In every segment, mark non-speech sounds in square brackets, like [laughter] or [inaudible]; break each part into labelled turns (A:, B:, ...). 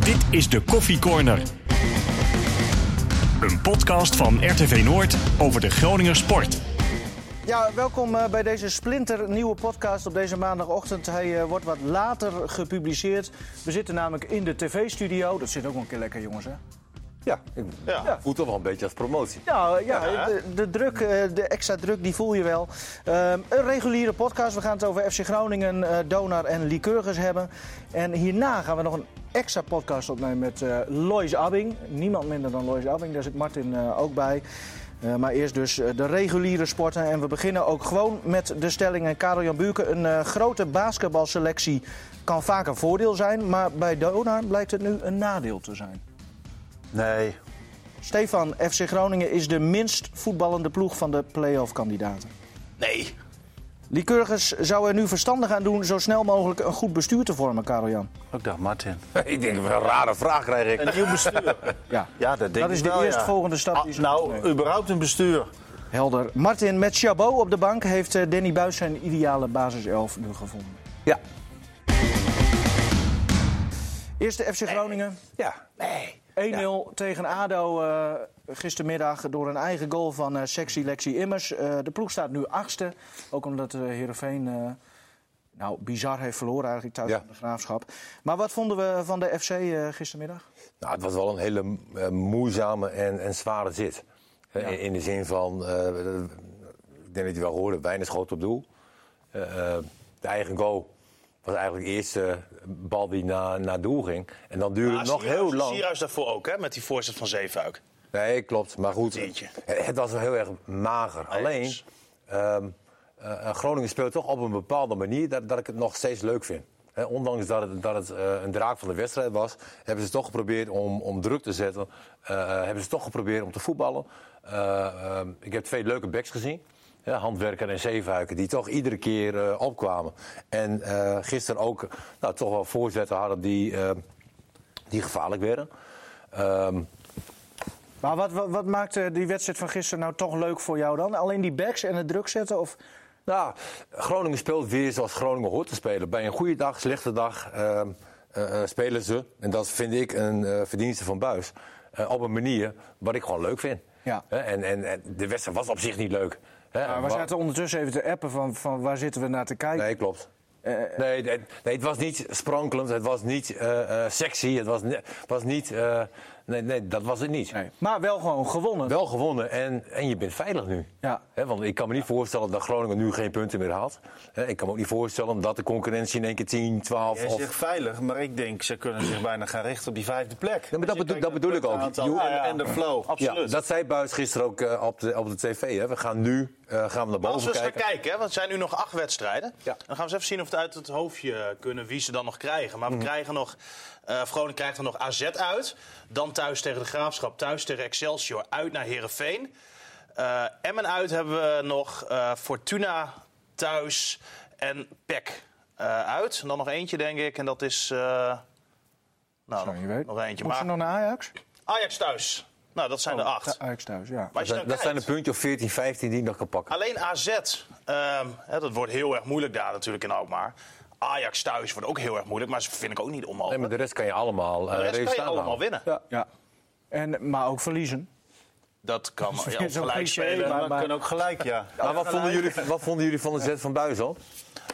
A: Dit is de Koffie Corner. Een podcast van RTV Noord over de Groninger sport.
B: Ja, welkom eh, bij deze splinternieuwe podcast op deze maandagochtend. Hij eh, wordt wat later gepubliceerd. We zitten namelijk in de tv-studio. Dat zit ook wel een keer lekker, jongens, hè?
C: Ja, ik ja. voel toch wel een beetje als promotie.
B: Nou ja, de, de druk, eh, de extra druk, die voel je wel. Ehm, een reguliere podcast. We gaan het over FC Groningen, eh, Donar en Lycurgus hebben. En hierna gaan we nog een extra podcast opnemen met eh Lois Abbing. Niemand minder dan Lois Abbing, daar zit Martin eh, ook bij. Eh, maar eerst dus eh, de reguliere sporten. En we beginnen ook gewoon met de stelling. En Karel Jan Buurken, een eh, grote basketbalselectie kan vaak een voordeel zijn. Maar bij Donar blijkt het nu een nadeel te zijn.
C: Nee.
B: Stefan, FC Groningen is de minst voetballende ploeg van de play-off kandidaten.
C: Nee.
B: Lycurgus zou er nu verstandig aan doen zo snel mogelijk een goed bestuur te vormen, Karel-Jan.
D: Ook dat, Martin.
C: [laughs] ik denk, wat een rare vraag krijg ik.
D: Een nieuw bestuur.
B: [laughs] Ja.
D: Ja, dat denk
B: Dat is
D: ik
B: de
D: wel,
B: eerstvolgende
D: ja.
B: stap die
D: Ah,
B: ze
D: nou,
B: moeten nemen.
D: überhaupt een bestuur.
B: Helder. Martin, met Chabot op de bank heeft eh, Danny Buis zijn ideale basiself nu gevonden.
C: Ja.
B: Eerste FC Groningen,
C: Ja. Nee.
B: 1-0 tegen ADO eh, gistermiddag door een eigen goal van eh, Sexy Lexi Immers. Eh, de ploeg staat nu achtste, ook omdat eh Heerenveen eh, nou, bizar heeft verloren eigenlijk thuis
C: Ja.
B: van de Graafschap. Maar wat vonden we van de FC eh, gistermiddag?
C: Nou, het was wel een hele eh, moeizame en, en zware zit. Eh, in, in de zin van, eh, ik denk dat je wel hoorde, weinig schoten op doel. Eh, eh, de eigen goal was eigenlijk de eerste bal die naar naar doel ging. En dan
D: Nou,
C: duurde het nog heel lang.
E: Ah, Sierhuis daarvoor ook, hè? Met die voorzet van Zeefuik.
C: Nee, klopt. Maar goed,
E: Eentje.
C: het, het was wel heel erg mager. Alleen,
E: dus-
C: ehm, eh, Groningen speelt toch op een bepaalde manier dat, dat ik het nog steeds leuk vind. Hè, ondanks dat het, dat het eh, een draak van de wedstrijd was, hebben ze toch geprobeerd om, om druk te zetten. Eh, hebben ze toch geprobeerd om te voetballen. Eh, ehm, ik heb twee leuke backs gezien. hè, handwerker en zeefuiken, die toch iedere keer eh, opkwamen. En eh gisteren ook nou, toch wel voorzetten hadden die, eh, die gevaarlijk werden. Ehm,
B: Maar wat, wat, wat maakte die wedstrijd van gisteren nou toch leuk voor jou dan? Alleen die backs en het druk zetten? Of...
C: Nou, Groningen speelt weer zoals Groningen hoort te spelen. Bij een goede dag, slechte dag ehm, eh, eh, spelen ze. En dat vind ik een eh, verdienste van Buis. Eh, op een manier wat ik gewoon leuk vind.
B: Ja.
C: Hè, en, en, en de wedstrijd was op zich niet leuk. Hè,
B: Maar eh, we
C: wa-
B: zaten ondertussen even te appen van, van waar zitten we naar te kijken.
C: Nee, klopt.
B: Eh,
C: nee, nee, nee, het was niet sprankelend, het was niet eh, eh, sexy, het was, ne- was niet... eh, nee, nee, dat was het niet.
B: Nee. Maar wel gewoon gewonnen.
C: Wel gewonnen en, en je bent veilig nu.
B: Ja.
C: Hè, want ik kan me niet voorstellen dat Groningen nu geen punten meer haalt. Hè, ik kan me ook niet voorstellen dat de concurrentie in één keer 10, 12
D: Jij
C: of...
D: zegt veilig, maar ik denk ze kunnen zich bijna gaan richten op die vijfde plek.
C: maar dat
D: Als Dus je
C: bedoel-
D: kijkt
C: dat
D: naar
C: bedoel
D: het
C: ik ook.
D: aantal
C: You-
D: en- En de flow,
C: Ja,
D: absoluut.
C: dat zei Buis gisteren ook eh, op, de, op de tv. Hè. We gaan nu eh, gaan we naar
E: Maar als we
C: boven
E: eens gaan
C: kijken.
E: kijken, hè, want het zijn nu nog acht wedstrijden.
C: Ja.
E: Dan gaan we eens even zien of we het uit het hoofdje kunnen wie ze dan nog krijgen. Maar we krijgen nog, eh Groningen krijgt er nog AZ uit. Dan thuis tegen de Graafschap, thuis tegen Excelsior, uit naar Herenveen. Eh Emmen uit hebben we nog, eh, Fortuna thuis en PEC eh, uit. En dan nog eentje, denk ik, en dat is... eh, nou,
B: Nou, je
E: nog,
B: weet.
E: nog eentje.
B: Moet ze
E: Maar
B: nog naar Ajax?
E: Ajax thuis. Nou, dat zijn er acht.
B: Th- Ajax thuis, ja.
E: Maar als je
C: Dat,
E: dan
C: dat zijn
E: kijkt-
C: een puntje of 14, 15 die ik nog kan pakken.
E: Alleen AZ, ehm, hè, dat wordt heel erg moeilijk daar natuurlijk in Alkmaar. Ajax thuis wordt ook heel erg moeilijk, maar ze vind ik ook niet
C: Nee,
E: onmogelijk.
C: maar de rest kan je allemaal eh
E: de rest kan je
C: resultaten
E: allemaal
C: halen.
E: winnen.
B: ja. En, maar ook verliezen.
C: [laughs]
E: Dat kan ja,
B: weer
E: of
B: zo'n
E: gelijk
B: cliché,
E: spelen.
B: maar-
D: Maar we kunnen ook gelijk, ja.
C: Maar wat vonden, jullie, wat vonden jullie van de zet van Buis al?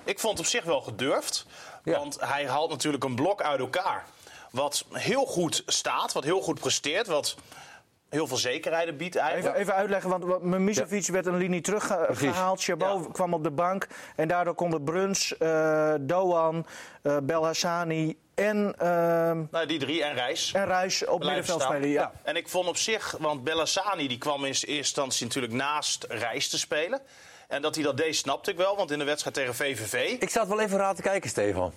E: Ik vond het op zich wel gedurfd,
C: Ja.
E: want hij haalt natuurlijk een blok uit elkaar. Wat heel goed staat, wat heel goed presteert, wat heel veel zekerheden biedt eigenlijk.
B: Even, even uitleggen, want wat- Mimicevic werd een linie teruggehaald. Chabot kwam op de bank. En daardoor konden Bruns, eh Doan, eh Belhassani en, ehm
E: Nou, die drie en Reis.
B: en Ruijs op
E: Blijven
B: middenveld
E: staan.
B: spelen. Ja.
E: En ik vond op zich, want Bellassani die kwam in eerste instantie natuurlijk naast Reis te spelen. En dat hij dat deed, snapte ik wel, want in de wedstrijd tegen VVV.
C: Ik zat wel even raar te kijken, Stefan.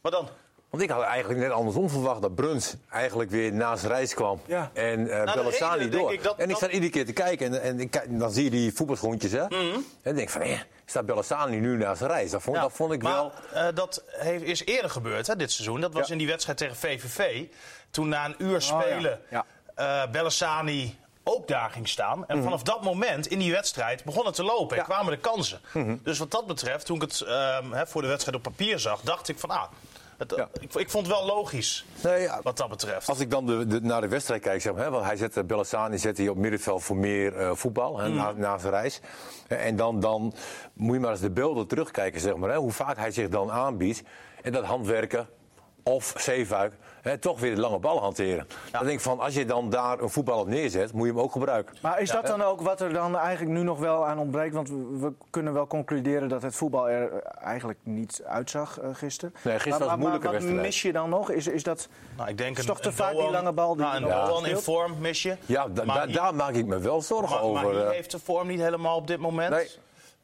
E: Maar dan?
C: Want ik had eigenlijk net andersom verwacht dat Bruns eigenlijk weer naast Reis kwam.
B: Ja.
C: En eh
E: Nou, de
C: Bellassani
E: reden denk
C: door.
E: ik dat-
C: en ik
E: dat- Mhm.
C: sta iedere keer te kijken en, en ik kijk- dan zie je die voetbalschoentjes. Hè? En denk ik van, hé, staat Bellassani nu naast Reis? Dat vond, dat vond ik
E: maar,
C: wel...
E: eh, dat heeft, is eerder gebeurd hè, dit seizoen. Dat was in die wedstrijd tegen VVV. Toen na een uur spelen
B: Ja.
E: eh, Bellassani ook daar ging staan. En vanaf dat moment in die wedstrijd begon het te lopen. En kwamen de kansen. Dus wat dat betreft, toen ik het ehm, hè, voor de wedstrijd op papier zag, dacht ik van... Ah, het Het,
C: Ja.
E: ik, ik vond het wel logisch,
C: Nee, ja,
E: wat dat betreft.
C: Als ik dan de, de- naar de wedstrijd kijk, zeg maar, hè, want hij zette Bellassani zette hij op middenveld voor meer eh, voetbal
E: Mm.
C: hè, na, na zijn reis. Eh, En dan, dan moet je maar eens de beelden terugkijken, zeg maar, hè, hoe vaak hij zich dan aanbiedt. En dat handwerken of zeefuik, hè, toch weer de lange bal hanteren. Dan denk ik van, als je dan daar een voetbal op neerzet, moet je hem ook gebruiken.
B: Maar is dat dan ook wat er dan eigenlijk nu nog wel aan ontbreekt? Want we, we kunnen wel concluderen dat het voetbal er eh, eigenlijk niet uitzag eh, gisteren.
C: Nee,
B: Maar-
C: gisteren was een
B: maar-
C: moeilijke
B: maar Wat
C: wedstrijd.
B: mis je dan nog? Is, is dat...
E: nou, ik denk
B: is toch te vaak die lange bal die
E: nou,
B: je
E: een
B: nog wel
E: Doan in
B: speelt?
E: vorm mis je.
C: Ja, da-
E: Maar
C: da-
E: i-
C: daar maak ik me wel zorgen
E: maar,
C: over.
E: maar
C: eh.
E: hij heeft de vorm niet helemaal op dit moment.
C: Nee.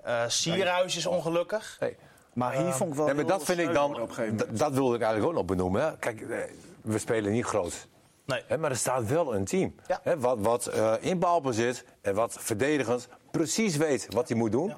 E: Eh, Sierhuis is ongelukkig.
C: Nee.
B: Maar hier vond ik wel...
C: Ehm, Nee, maar
B: heel
C: dat vind ik
B: sneu
C: dan,
B: worden op een gegeven moment.
C: dat- dat wilde ik eigenlijk ook nog benoemen. Hè. Kijk, eh, we spelen niet groot.
E: Nee.
C: Hè, maar er staat wel een team.
E: Ja.
C: Hè, wat wat eh, in balbezit en wat verdedigend precies weet wat hij moet doen.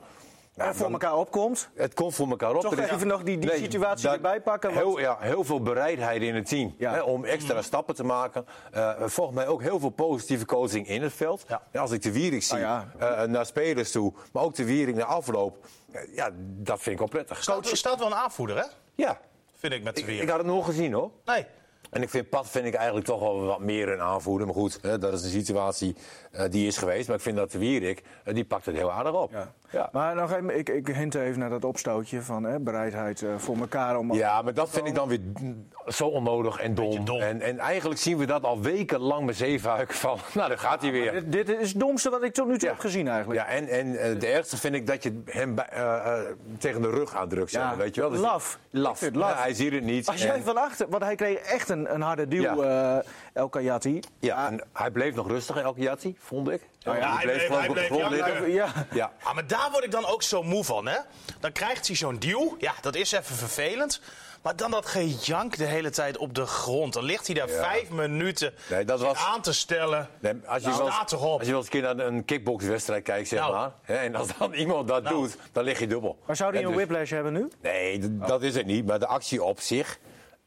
C: Nou,
B: En voor
C: dan-
B: elkaar opkomt.
C: Het komt voor elkaar op.
B: Toch
C: Er is-
B: even nog die- die situatie
C: dat-
B: erbij pakken, want-
C: Heel, ja, heel veel bereidheid in het team
B: Ja. Mhm.
C: hè, om extra stappen te maken. Eh, volgens mij ook heel veel positieve coaching in het veld.
E: Ja.
C: En Als ik de Wierik zie,
B: Nou ja.
C: eh, naar spelers toe, maar ook de Wierik naar afloop. eh, ja, dat vind ik wel prettig.
E: Staat, er staat wel een aanvoerder, hè?
C: Ja,
E: Vind ik met de
C: ik,
E: vier.
C: ik had het nog gezien hoor.
E: Nee.
C: En ik vind Pat vind ik eigenlijk toch wel wat meer een aanvoerder. Maar goed, hè, dat is de situatie eh, die is geweest. Maar ik vind dat de Wierik, eh, die pakt het heel aardig op. Ja, ja. Maar,
B: Maar nog even, ik, ik hint even naar dat opstootje van hè, bereidheid eh, voor elkaar om...
C: dat vind ik dan weer mm, zo onnodig en dom.
E: dom.
C: En, en eigenlijk zien we dat al wekenlang met Zeefuik van... [laughs] Nou, daar gaat hij weer.
B: Dit, dit is het domste wat ik tot nu toe heb gezien eigenlijk.
C: Ja, en, en eh, de ergste vind ik dat je hem bij- eh, eh, tegen de rug aandrukt. zeg
B: Ja.
C: maar, weet je wel? Dus
B: Laf. Ik
C: Laf.
B: vind laf.
C: Ja, hij ziet het niet.
B: Als jij
C: En-
B: van achter... Want hij kreeg echt een, een harde duw, eh, El Kayati.
C: ja, en hij bleef nog rustig, El Kiyati, vond ik.
E: ja, hij bleef-
C: gewoon
E: hij
C: op de
E: bleef
C: grond
E: janken.
C: liggen.
B: Ja.
C: Ja,
E: Ah, maar daar word ik dan ook zo moe van, hè? Dan krijgt hij zo'n duw. Ja, dat is even vervelend. Maar dan dat gejank de hele tijd op de grond. Dan ligt hij daar
C: Ja.
E: vijf minuten
C: Nee, dat
E: zich
C: was-
E: aan te stellen.
C: Nee, als, je
E: Nou,
C: wel eens,
E: staat toch op.
C: als je wel eens een keer naar een kickboxwedstrijd kijkt, zeg
E: Nou.
C: maar. Hè, en als dan [laughs] iemand dat
E: Nou.
C: doet, dan lig je dubbel.
B: Maar zou die
C: Hè,
B: een
C: dus-
B: whiplash hebben nu?
C: Nee,
E: Oh.
C: d- dat is het niet. Maar de actie op zich.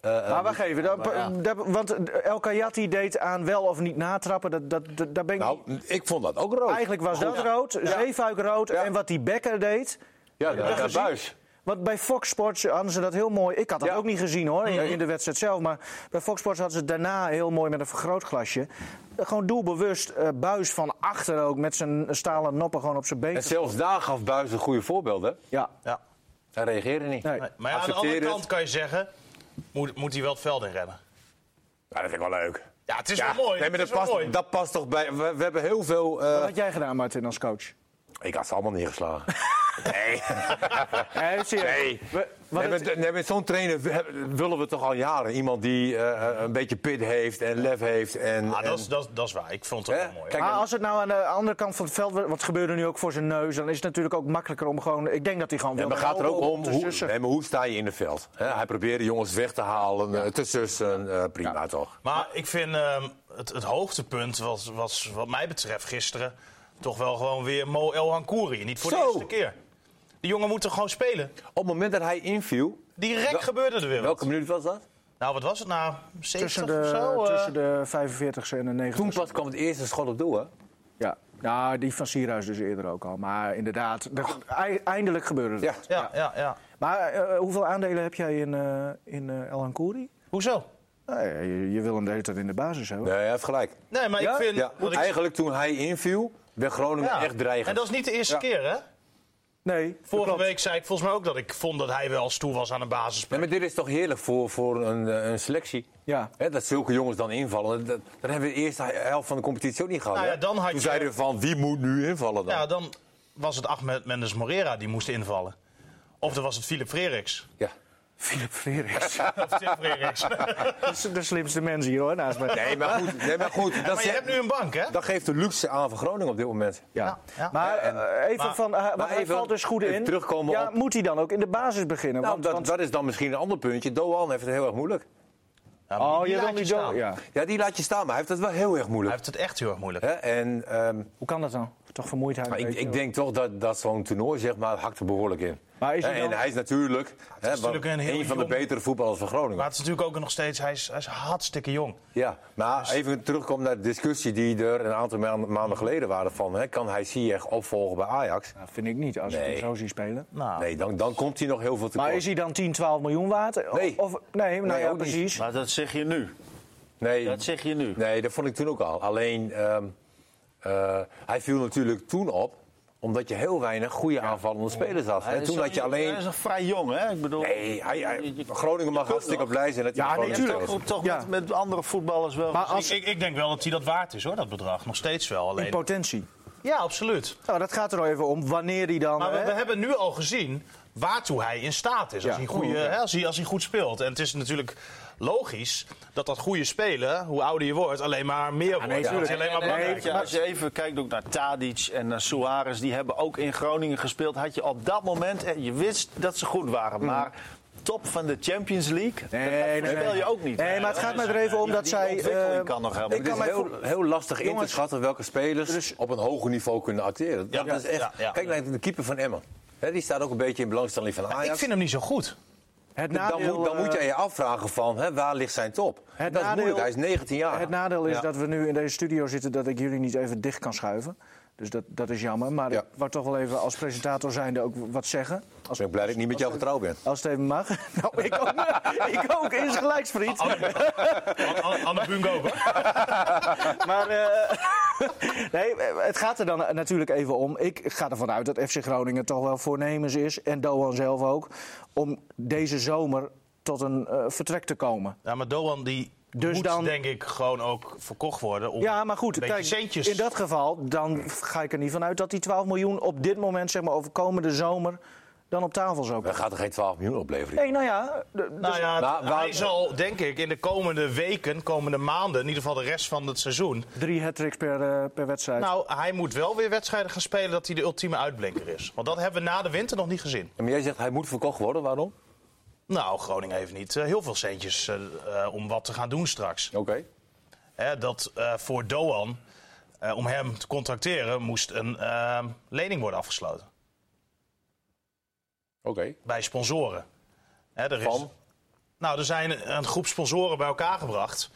C: Eh,
B: Maar wacht even, dat, eh, dat- want El Kayati deed aan wel of niet natrappen. Dat, dat, dat- daar ben ik
C: Nou,
B: niet-
C: ik vond dat ook rood.
B: Eigenlijk was dat rood, Zeefuik rood. En wat die Becker deed.
C: Ja,
B: heb je dat
C: dat
B: gezien?
C: buis.
B: Want bij Fox Sports hadden ze dat heel mooi. Ik had dat
C: Ja.
B: ook niet gezien hoor, in, in de wedstrijd zelf. Maar bij Fox Sports hadden ze het daarna heel mooi met een vergrootglasje. eh, Gewoon doelbewust eh, buis van achter ook. Met zijn eh, stalen noppen gewoon op zijn been.
C: En zelfs daar gaf buis een goede voorbeeld. Hè?
B: Ja.
E: Ja.
C: Hij reageerde niet.
B: Nee.
E: Nee, Maar ja, aan de
C: Accepteer
E: andere
C: het.
E: kant kan je zeggen... Moet, moet hij wel het veld in rennen.
C: Ja, dat vind ik wel leuk.
E: Ja, het is wel mooi.
C: nee, maar
E: Het
C: dat,
E: is wel
C: past,
E: mooi.
C: dat past toch bij. We, we hebben heel veel. eh,
B: Wat had jij gedaan, Martin, als coach?
C: Ik had ze allemaal neergeslagen.
B: [laughs]
C: nee.
B: Nee, serieus.
C: Nee.
B: We- wat
C: Nee,
B: het-
C: met, nee, met zo'n trainer we- hebben- willen we toch al jaren. Iemand die eh, een beetje pit heeft en lef heeft. En,
E: Ah,
C: en-
E: dat, is, dat, is- dat is waar. Ik vond het
C: Hè?
E: wel mooi.
C: Kijk,
B: Maar
C: en-
B: als het nou aan de andere kant van het veld, wat gebeurde nu ook voor zijn neus, dan is het natuurlijk ook makkelijker om gewoon. Ik denk dat hij gewoon
C: Ja,
B: wil.
C: maar gaat er ook om, hoe,
B: zussen.
C: nee, maar hoe sta je in het veld? Hè, hij probeerde jongens weg te halen, eh, te sussen, eh, prima toch?
E: Maar ik vind ehm, het, het hoogtepunt was, was wat mij betreft gisteren... toch wel gewoon weer Mo El Hankouri. Niet voor de
C: Zo.
E: eerste keer. Die jongen moet er gewoon spelen.
C: Op het moment dat hij inviel,
E: Direct
C: Wel-
E: gebeurde er weer wat.
C: welke minuut was dat?
E: Nou, wat was het nou? 70
B: Tussen de,
E: of zo? eh?
B: tussen de 45ste en de 90ste.
C: Toen pas kwam het eerste schot op doel, hè?
B: Ja. Nou, die van Sierhuis dus eerder ook al. Maar inderdaad, de- ei- eindelijk gebeurde het.
C: Ja.
E: Ja, ja, ja.
B: Maar eh, hoeveel aandelen heb jij in, eh in eh El Hankouri?
E: Hoezo?
B: Nou, ja, je, je wil hem de hele tijd in de basis hebben.
C: Nee, hij heeft gelijk.
E: Nee, maar
B: Ja?
E: ik vind...
C: Ja,
E: wat ik-
C: eigenlijk toen hij inviel, werd Groningen
E: ja.
C: echt dreigend.
E: En dat is niet de eerste keer, hè?
B: Nee, dat
E: Vorige
B: klopt.
E: week zei ik volgens mij ook dat ik vond dat hij wel stoer was aan een basisplek.
C: Nee, maar dit is toch heerlijk voor, voor een, eh, een selectie?
B: Ja.
C: Hè, dat zulke jongens dan invallen. Dat, dat hebben we de eerste helft van de competitie ook niet gehad.
E: Nou ja,
C: hè?
E: dan had
C: Toen
E: je-
C: zeiden we van, wie moet nu invallen dan?
E: Ja, dan was het Ahmed Mendes Morera die moest invallen. Of dan was het Philip Freriks.
C: Ja.
B: Philip [laughs] Frerichs.
E: Of Tim Freriks.
B: [laughs] dat is de slimste mens hier hoor, naast mij.
C: Nee, maar goed. Nee, maar
E: [laughs]
C: goed dat,
E: maar je
C: ze-
E: hebt nu een bank, hè?
C: dat geeft de luxe aan van Groningen op dit moment.
B: Ja.
E: Ja.
B: Maar eh, even
E: maar-
B: van, eh, want
C: maar
B: hij
C: even-
B: valt dus goed
C: even
B: in.
C: terugkomen
B: ja,
C: op-
B: moet hij dan ook in de basis beginnen?
C: Nou,
B: want,
C: dat,
B: want-
C: dat is dan misschien een ander puntje. Doan heeft het heel erg moeilijk.
E: Ja, maar
B: oh,
E: die
B: je
E: laat
B: wil niet
E: Nou, staan.
B: zo. Ja.
C: Ja, die laat je staan, maar hij heeft het wel heel erg
E: Hij
C: moeilijk.
E: heeft het echt heel erg moeilijk.
C: Hè, en ehm,
B: Hoe kan dat dan? toch vermoeidheid.
C: Maar
B: een
C: Nou, ik,
B: beetje.
C: ik denk toch dat, dat zo'n toernooi zeg maar, hakt er behoorlijk in.
B: Maar is hij
C: Hè,
B: dan-
C: En hij is natuurlijk, hè, wat-
E: natuurlijk een
C: een,
E: heel
C: van de
E: jong-
C: betere voetballers van Groningen.
E: Maar het is natuurlijk ook nog steeds, hij is, hij is hartstikke jong.
C: Ja,
D: Dus-
C: maar even terugkomen naar de discussie die er een aantal maanden, maanden geleden waren van... Hè, kan hij Ziyech opvolgen bij Ajax?
B: Nou, vind ik niet, als ik
C: Nee.
B: hem zo zie spelen.
E: Nou,
C: Nee, dan, dan komt hij nog heel veel te
B: Maar
C: kort.
B: is hij dan 10, 12 miljoen waard? O-
C: Nee.
B: Of, nee, nou
C: Nee,
B: ja,
C: ook niet.
B: precies.
D: Maar dat zeg je nu.
C: Nee,
D: Dat zeg je nu.
C: Nee, dat vond ik toen ook al. Alleen, ehm, eh, hij viel natuurlijk toen op omdat je heel weinig goede aanvallende spelers had.
D: Hij
C: En
D: is
C: toen
D: nog-
C: had je
D: Hij is
C: alleen...
D: nog vrij jong, hè? Ik bedoel,
C: Nee, hij, hij-
D: Je- je-
C: Groningen mag hartstikke blij zijn dat hij
B: Ja,
C: gewoon
B: nee,
C: een
B: tuurlijk.
D: Ik
C: speler
D: roep toch
B: Ja.
D: met, Ah, met andere voetballers wel.
B: Maar
D: gezien.
B: als
E: Dus ik, ik denk wel dat hij dat waard is hoor, dat bedrag. Nog steeds wel.
B: in
E: Alleen.
B: potentie.
E: Ja, absoluut.
B: Nou, dat gaat er al even om wanneer hij dan...
E: Maar we,
B: hè?
E: we hebben nu al gezien waartoe hij in staat is. Als,
B: Ja.
E: hij, goede,
B: Goed, ja.
E: hè, als, hij, als hij goed speelt. En het is natuurlijk logisch dat dat goede spelen, hoe ouder je wordt, alleen maar meer wordt.
B: nee,
E: Het wordt
B: tuurlijk.
E: alleen maar
D: En- en-
E: belangrijker.
D: ja, als je even kijkt ook naar Tadic en naar Suarez, die hebben ook in Groningen gespeeld. Had je op dat moment, eh, je wist dat ze goed
C: Mm.
D: waren, maar top van de Champions League,
B: Nee,
D: dat- dat
B: nee,
D: voorspel
B: nee.
D: je ook niet.
B: Nee, maar het gaat me er even om dat
D: die
B: zij,
D: ontwikkeling
B: eh,
D: kan nog helemaal.
C: Het is
B: mij
C: heel, heel lastig in te
B: Jongens,
C: schatten welke spelers op een hoger niveau kunnen acteren.
E: Ja,
C: dat is echt,
E: ja, ja.
C: Kijk naar de keeper van Emmen. Hè, die staat ook een beetje in belangstelling van Ajax.
E: Ik vind hem niet zo goed.
B: het
C: dan,
B: nadeel,
C: moet, dan
B: eh,
C: moet je je afvragen van, hè, waar ligt zijn top? dat is
B: nadeel-
C: moeilijk, hij is 19 jaar.
B: Het nadeel is dat we nu in deze studio zitten dat ik jullie niet even dicht kan schuiven. Dus dat, dat is jammer. Maar
C: Ja.
B: ik wou toch wel even als presentator zijnde ook wat zeggen. Als,
C: Dus Ik ben blij dat ik niet met jou getrouwd ben.
B: als het even mag. [laughs] nou, ik ook.
C: [laughs]
B: ik ook. Eens gelijks, vriend.
E: An- An- Anne Bungo.
B: [laughs] Maar eh, [laughs] nee, het gaat er dan natuurlijk even om. Ik ga ervan uit dat FC Groningen toch wel voornemens is, en Doan zelf ook, om deze zomer tot een eh, vertrek te komen.
E: Ja, maar Doan die
B: Dus
E: moet
B: dan-
E: denk ik gewoon ook verkocht worden. Om
B: Ja, maar goed,
E: een beetje
B: kijk,
E: centjes.
B: in dat geval dan ga ik er niet van uit dat die 12 miljoen op dit moment, zeg maar over komende zomer, dan op tafel zou
C: Dat
B: komen.
C: gaat er geen 12 miljoen opleveren.
B: Nee, nou ja, d- dus-
E: Nou ja,
C: Maar waar-
E: hij zal denk ik in de komende weken, komende maanden, in ieder geval de rest van het seizoen.
B: drie hat-tricks per, eh, per wedstrijd.
E: Nou, hij moet wel weer wedstrijden gaan spelen dat hij de ultieme uitblinker is. Want dat hebben we na de winter nog niet gezien.
C: Maar jij zegt hij moet verkocht worden, waarom?
E: Nou, Groningen heeft niet eh, heel veel centjes eh, eh, om wat te gaan doen straks.
C: Oké.
E: Hè, dat eh, voor Doan, eh, om hem te contracteren, moest een eh, lening worden afgesloten
C: Oké.
E: bij sponsoren. Hè, er is-
C: Van?
E: Nou, er zijn een groep sponsoren bij elkaar gebracht.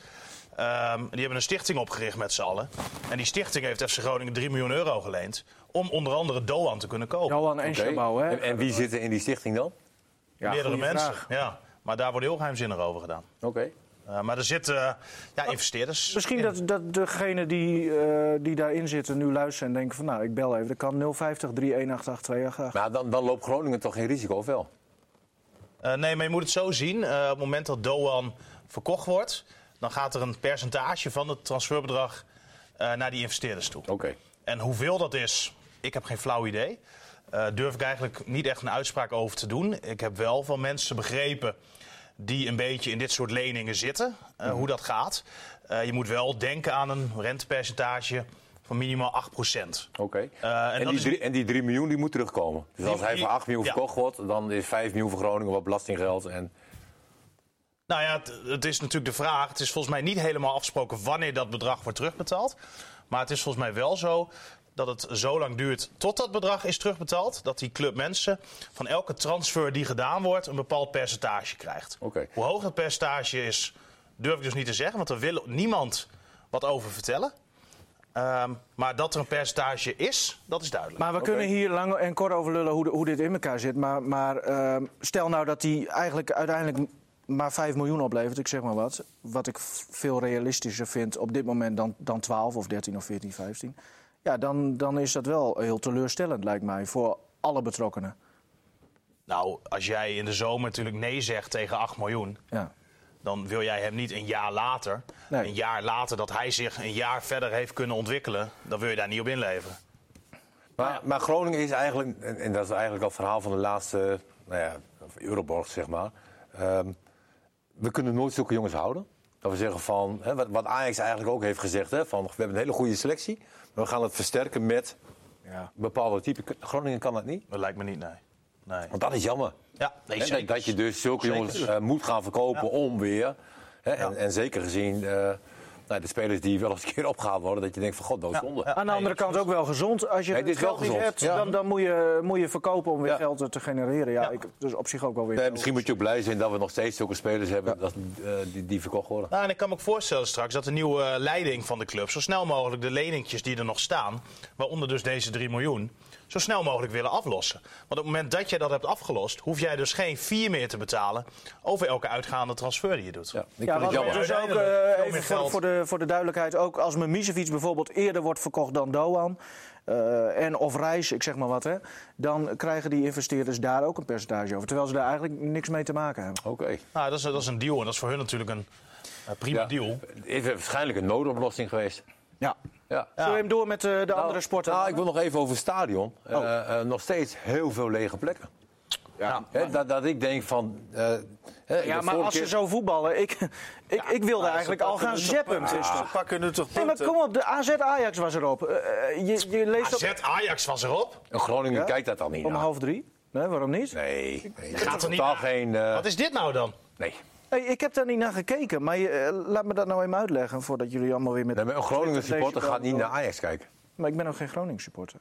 E: Ehm, die hebben een stichting opgericht met z'n allen. En die stichting heeft FC Groningen 3 miljoen euro geleend. Om onder andere Doan te kunnen kopen.
B: Johan en
C: Oké.
B: Chabot, hè?
C: En, en wie zit er in die stichting dan?
B: Ja,
E: Meerdere
B: goeie
E: mensen.
B: vraag.
E: Ja. Maar daar wordt heel geheimzinnig over gedaan.
C: Oké.
E: Eh, maar er zitten eh, ja, investeerders.
B: Oh, Misschien dat, dat degene die, eh, die daarin zitten nu luisteren en denken van nou, ik bel even. Dat kan 050 3188288.
C: Maar Nou, dan, dan loopt Groningen toch geen risico, of wel?
E: Eh, nee, maar je moet het zo zien. Eh, op het moment dat Doan verkocht wordt, dan gaat er een percentage van het transferbedrag eh, naar die investeerders toe.
C: Oké.
E: En hoeveel dat is, ik heb geen flauw idee. Eh durf ik eigenlijk niet echt een uitspraak over te doen. Ik heb wel van mensen begrepen die een beetje in dit soort leningen zitten, eh, hoe dat gaat. Eh, je moet wel denken aan een rentepercentage van minimaal 8%.
C: Oké.
E: Eh, en
C: en,
E: dat
C: die
E: is-
C: drie- en die 3 miljoen die moet terugkomen. Dus als hij
E: die-
C: voor 8 miljoen
E: ja.
C: verkocht wordt, dan is 5 miljoen voor Groningen wat belastinggeld. En,
E: Nou ja, het, het is natuurlijk de vraag. Het is volgens mij niet helemaal afgesproken wanneer dat bedrag wordt terugbetaald. Maar het is volgens mij wel zo dat het zo lang duurt tot dat bedrag is terugbetaald. Dat die club mensen van elke transfer die gedaan wordt een bepaald percentage krijgt.
C: Oké.
E: Hoe hoog dat percentage is, durf ik dus niet te zeggen. Want er wil niemand wat over vertellen. Ehm, maar dat er een percentage is, dat is duidelijk.
B: Maar we kunnen hier lang en kort over lullen hoe, de- hoe dit in elkaar zit. Maar, maar ehm, stel nou dat die eigenlijk uiteindelijk maar 5 miljoen oplevert, ik zeg maar wat. Wat ik v- veel realistischer vind op dit moment dan, dan 12 of 13 of 14, 15. Ja, dan, dan is dat wel heel teleurstellend, lijkt mij, voor alle betrokkenen.
E: Nou, als jij in de zomer natuurlijk nee zegt tegen 8 miljoen...
B: Ja.
E: dan wil jij hem niet een jaar later.
B: Nee.
E: Een jaar later dat hij zich een jaar verder heeft kunnen ontwikkelen, dan wil je daar niet op inleveren.
C: maar, maar Groningen is eigenlijk, en, en dat is eigenlijk al het verhaal van de laatste nou ja, of Euroborg, zeg maar. Ehm, we kunnen nooit zulke jongens houden. Dat we zeggen van, hè, wat, wat Ajax eigenlijk ook heeft gezegd, hè, van we hebben een hele goede selectie. Maar we gaan het versterken met
B: Ja.
C: bepaalde typen. Groningen kan dat niet.
E: Dat lijkt me niet, nee. nee.
C: Want dat is jammer.
E: Ja, nee,
C: Hè,
E: zeker.
C: dat, dat je dus zulke jongens eh, moet gaan verkopen om weer. Hè, en, en zeker gezien eh, nou, de spelers die wel eens een keer opgehaald worden, dat je denkt van god, dood zonde.
B: Aan de andere kant ook wel gezond. Als je
C: Nee, dit
B: het
C: is wel
B: geld niet
C: gezond,
B: hebt,
C: ja.
B: dan, dan moet, je, moet je verkopen om weer
C: Ja.
B: geld te genereren. Ja, Ik, dus op zich ook wel weer.
C: Nee, Eh, misschien moet je ook blij zijn dat we nog steeds zulke spelers hebben dat, eh, die, die verkocht worden.
E: Nou, en ik kan me ook voorstellen straks dat de nieuwe eh, leiding van de club zo snel mogelijk de leningjes die er nog staan, waaronder dus deze 3 miljoen, zo snel mogelijk willen aflossen. Want op het moment dat jij dat hebt afgelost, hoef jij dus geen 4 meer te betalen over elke uitgaande transfer die je doet.
C: Ja,
B: Ja,
C: ik vind het
B: wat
C: jammer.
B: dus ook
E: Uiteindelijk
B: eh,
E: veel
B: even
E: meer
B: voor,
E: geld.
B: voor, de, voor de duidelijkheid, ook als Mimicevic bijvoorbeeld eerder wordt verkocht dan Doan eh, en of Reis, ik zeg maar wat, hè, dan krijgen die investeerders daar ook een percentage over. Terwijl ze daar eigenlijk niks mee te maken hebben.
C: Oké.
E: Nou, dat, is, dat is een deal en dat is voor hun natuurlijk een eh, prima
C: Ja.
E: deal.
C: Het is waarschijnlijk een noodoplossing geweest.
B: Ja.
C: Ja.
B: Zullen we hem door met eh, de
C: Nou,
B: andere sporten?
C: Nou, ik wil nog even over het stadion. Eh, eh, nog steeds heel veel lege plekken. Ja. Hè, dat, dat ik denk van. eh, hè, ik
B: ja, maar
C: heb vorige
B: als ze
C: keer- nou,
B: zo voetballen, ik, ik, ik wilde eigenlijk al gaan zeppen.
D: Ze pakken nu toch
B: Nee, maar kom op, de AZ Ajax was erop. Eh, eh, je, je leest op
E: AZ Ajax was erop.
C: Een Groningen kijkt dat dan niet.
B: om
C: naar.
B: half drie. Nee, waarom niet?
C: Nee, nee.
E: Gaat er niet
C: Totaal
E: naar.
C: geen. eh,
E: Wat is dit nou dan?
C: nee.
B: Hey, ik heb daar niet naar gekeken, maar je, eh, laat me dat nou even uitleggen voordat jullie allemaal weer met.
C: Nee, maar een Groningen
B: Deze
C: supporter
B: kant
C: gaat niet
B: wel.
C: naar Ajax kijken.
B: Maar ik ben ook geen Groningen supporter.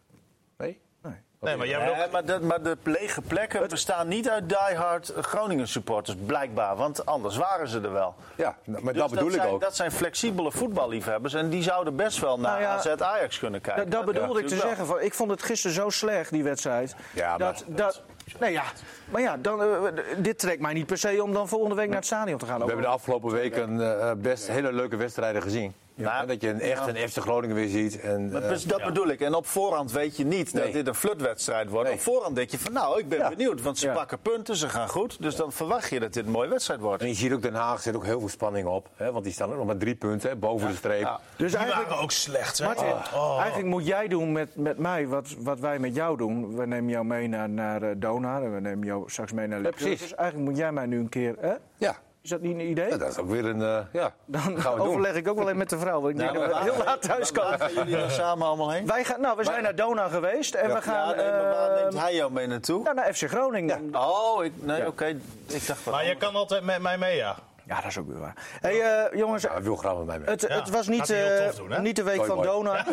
C: Nee?
B: Nee.
E: Nee, maar jij hebt
D: Nee,
E: ook...
D: maar, de, maar de lege plekken bestaan niet uit diehard Groningen supporters, blijkbaar. Want anders waren ze er wel.
C: Ja, nou, maar
D: Dus
C: dat bedoel
D: zijn,
C: ik ook.
D: Dat zijn flexibele voetballiefhebbers en die zouden best wel naar
B: Nou ja,
D: AZ Ajax kunnen kijken.
B: Dat, dat bedoelde
D: ja,
B: ik te
D: natuurlijk
B: zeggen. Van, ik vond het gisteren zo slecht, die wedstrijd.
C: Ja, maar-
B: dat, dat, nee, ja. Maar ja, dan, eh, dit trekt mij niet per se om dan volgende week naar het stadion te gaan.
C: We hebben de afgelopen weken eh, best hele leuke wedstrijden gezien.
D: Ja.
C: En Dat je een echt een FC Groningen weer ziet. En,
D: Maar
C: eh,
D: dus dat bedoel ik. En op voorhand weet je niet
C: Nee.
D: dat dit een flutwedstrijd wordt.
C: Nee.
D: Op voorhand denk je van nou, ik ben benieuwd. Want ze
B: Ja.
D: pakken punten, ze gaan goed. Dus dan verwacht je dat dit een mooie wedstrijd wordt.
C: en je ziet ook Den Haag zit ook heel veel spanning op. Hè, want die staan ook nog maar drie punten hè, boven de streep.
D: Ja.
B: Dus
E: Die
B: eigenlijk,
E: waren ook slecht. hè?
B: Martin,
E: Oh.
B: eigenlijk moet jij doen met, met mij wat, wat wij met jou doen. We nemen jou mee naar, naar eh, Donar en we nemen jou straks mee naar Leeuwarden.
C: precies.
B: Dus eigenlijk moet jij mij nu een keer... Hè?
C: Ja.
B: Is dat niet een idee?
C: Ja, dat is ook weer een. eh, ja,
B: Dan
C: gaan we doen.
B: overleg ik ook wel even met de vrouw, want ik denk dat we heel laat thuis
D: Waar
B: komen.
D: gaan jullie dan samen allemaal heen?
B: Wij gaan, nou, we zijn naar Donar geweest en we gaan
D: ja, nee, maar waar
B: eh,
D: neemt hij jou mee naartoe?
B: nou, naar FC Groningen.
D: Oh, ik, nee, oké. Ik dacht wat
E: Maar je
D: anders.
E: kan altijd met mij mee, ja.
B: Ja, dat is ook weer waar. Hey, eh, jongens,
C: Ja, hij wil graag met mij mee.
B: het, het was
E: gaat
B: niet,
E: hij heel
B: eh,
E: tof doen, hè?
B: niet de week
C: Toy
B: van
C: boy.
B: Donar.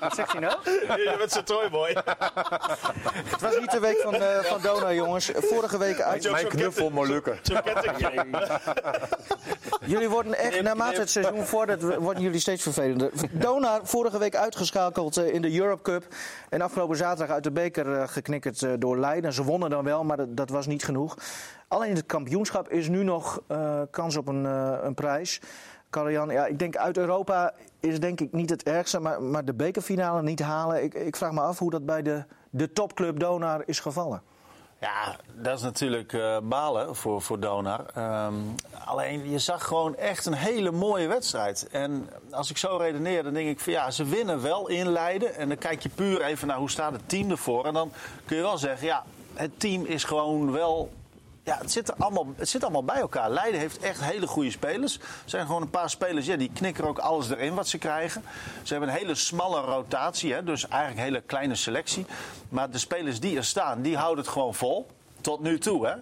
B: Wat zegt hij nou?
E: Je bent zo'n toyboy.
B: Het was niet de week van, eh, van Donar, jongens. Vorige week uit.
E: ook
C: Mijn
E: zo'n
C: knuffel Molukken.
E: Zo'n
C: [laughs]
E: kettingje.
B: Jullie worden echt,
D: Knip,
B: naarmate
D: knip.
B: het seizoen vordert, w- worden jullie steeds vervelender. Donar, vorige week uitgeschakeld eh, in de Europe Cup. En afgelopen zaterdag uit de beker eh, geknikkerd eh, door Leiden. Ze wonnen dan wel, maar dat, dat was niet genoeg. Alleen in het kampioenschap is nu nog eh, kans op een, eh, een prijs. Karel-Jan, ja, ik denk uit Europa is denk ik niet het ergste. Maar, maar de bekerfinale niet halen. Ik, ik vraag me af hoe dat bij de, de topclub Donar is gevallen.
D: Ja, dat is natuurlijk eh, balen voor, voor Donar. Ehm, alleen, je zag gewoon echt een hele mooie wedstrijd. En als ik zo redeneer, dan denk ik van ja, ze winnen wel in Leiden. En dan kijk je puur even naar hoe staat het team ervoor. En dan kun je wel zeggen, ja, het team is gewoon wel... Ja, het zit, er allemaal, het zit allemaal bij elkaar. Leiden heeft echt hele goede spelers. Er zijn gewoon een paar spelers, ja, die knikken ook alles erin wat ze krijgen. Ze hebben een hele smalle rotatie, hè, dus eigenlijk een hele kleine selectie. Maar de spelers die er staan, die houden het gewoon vol. Tot nu toe, hè.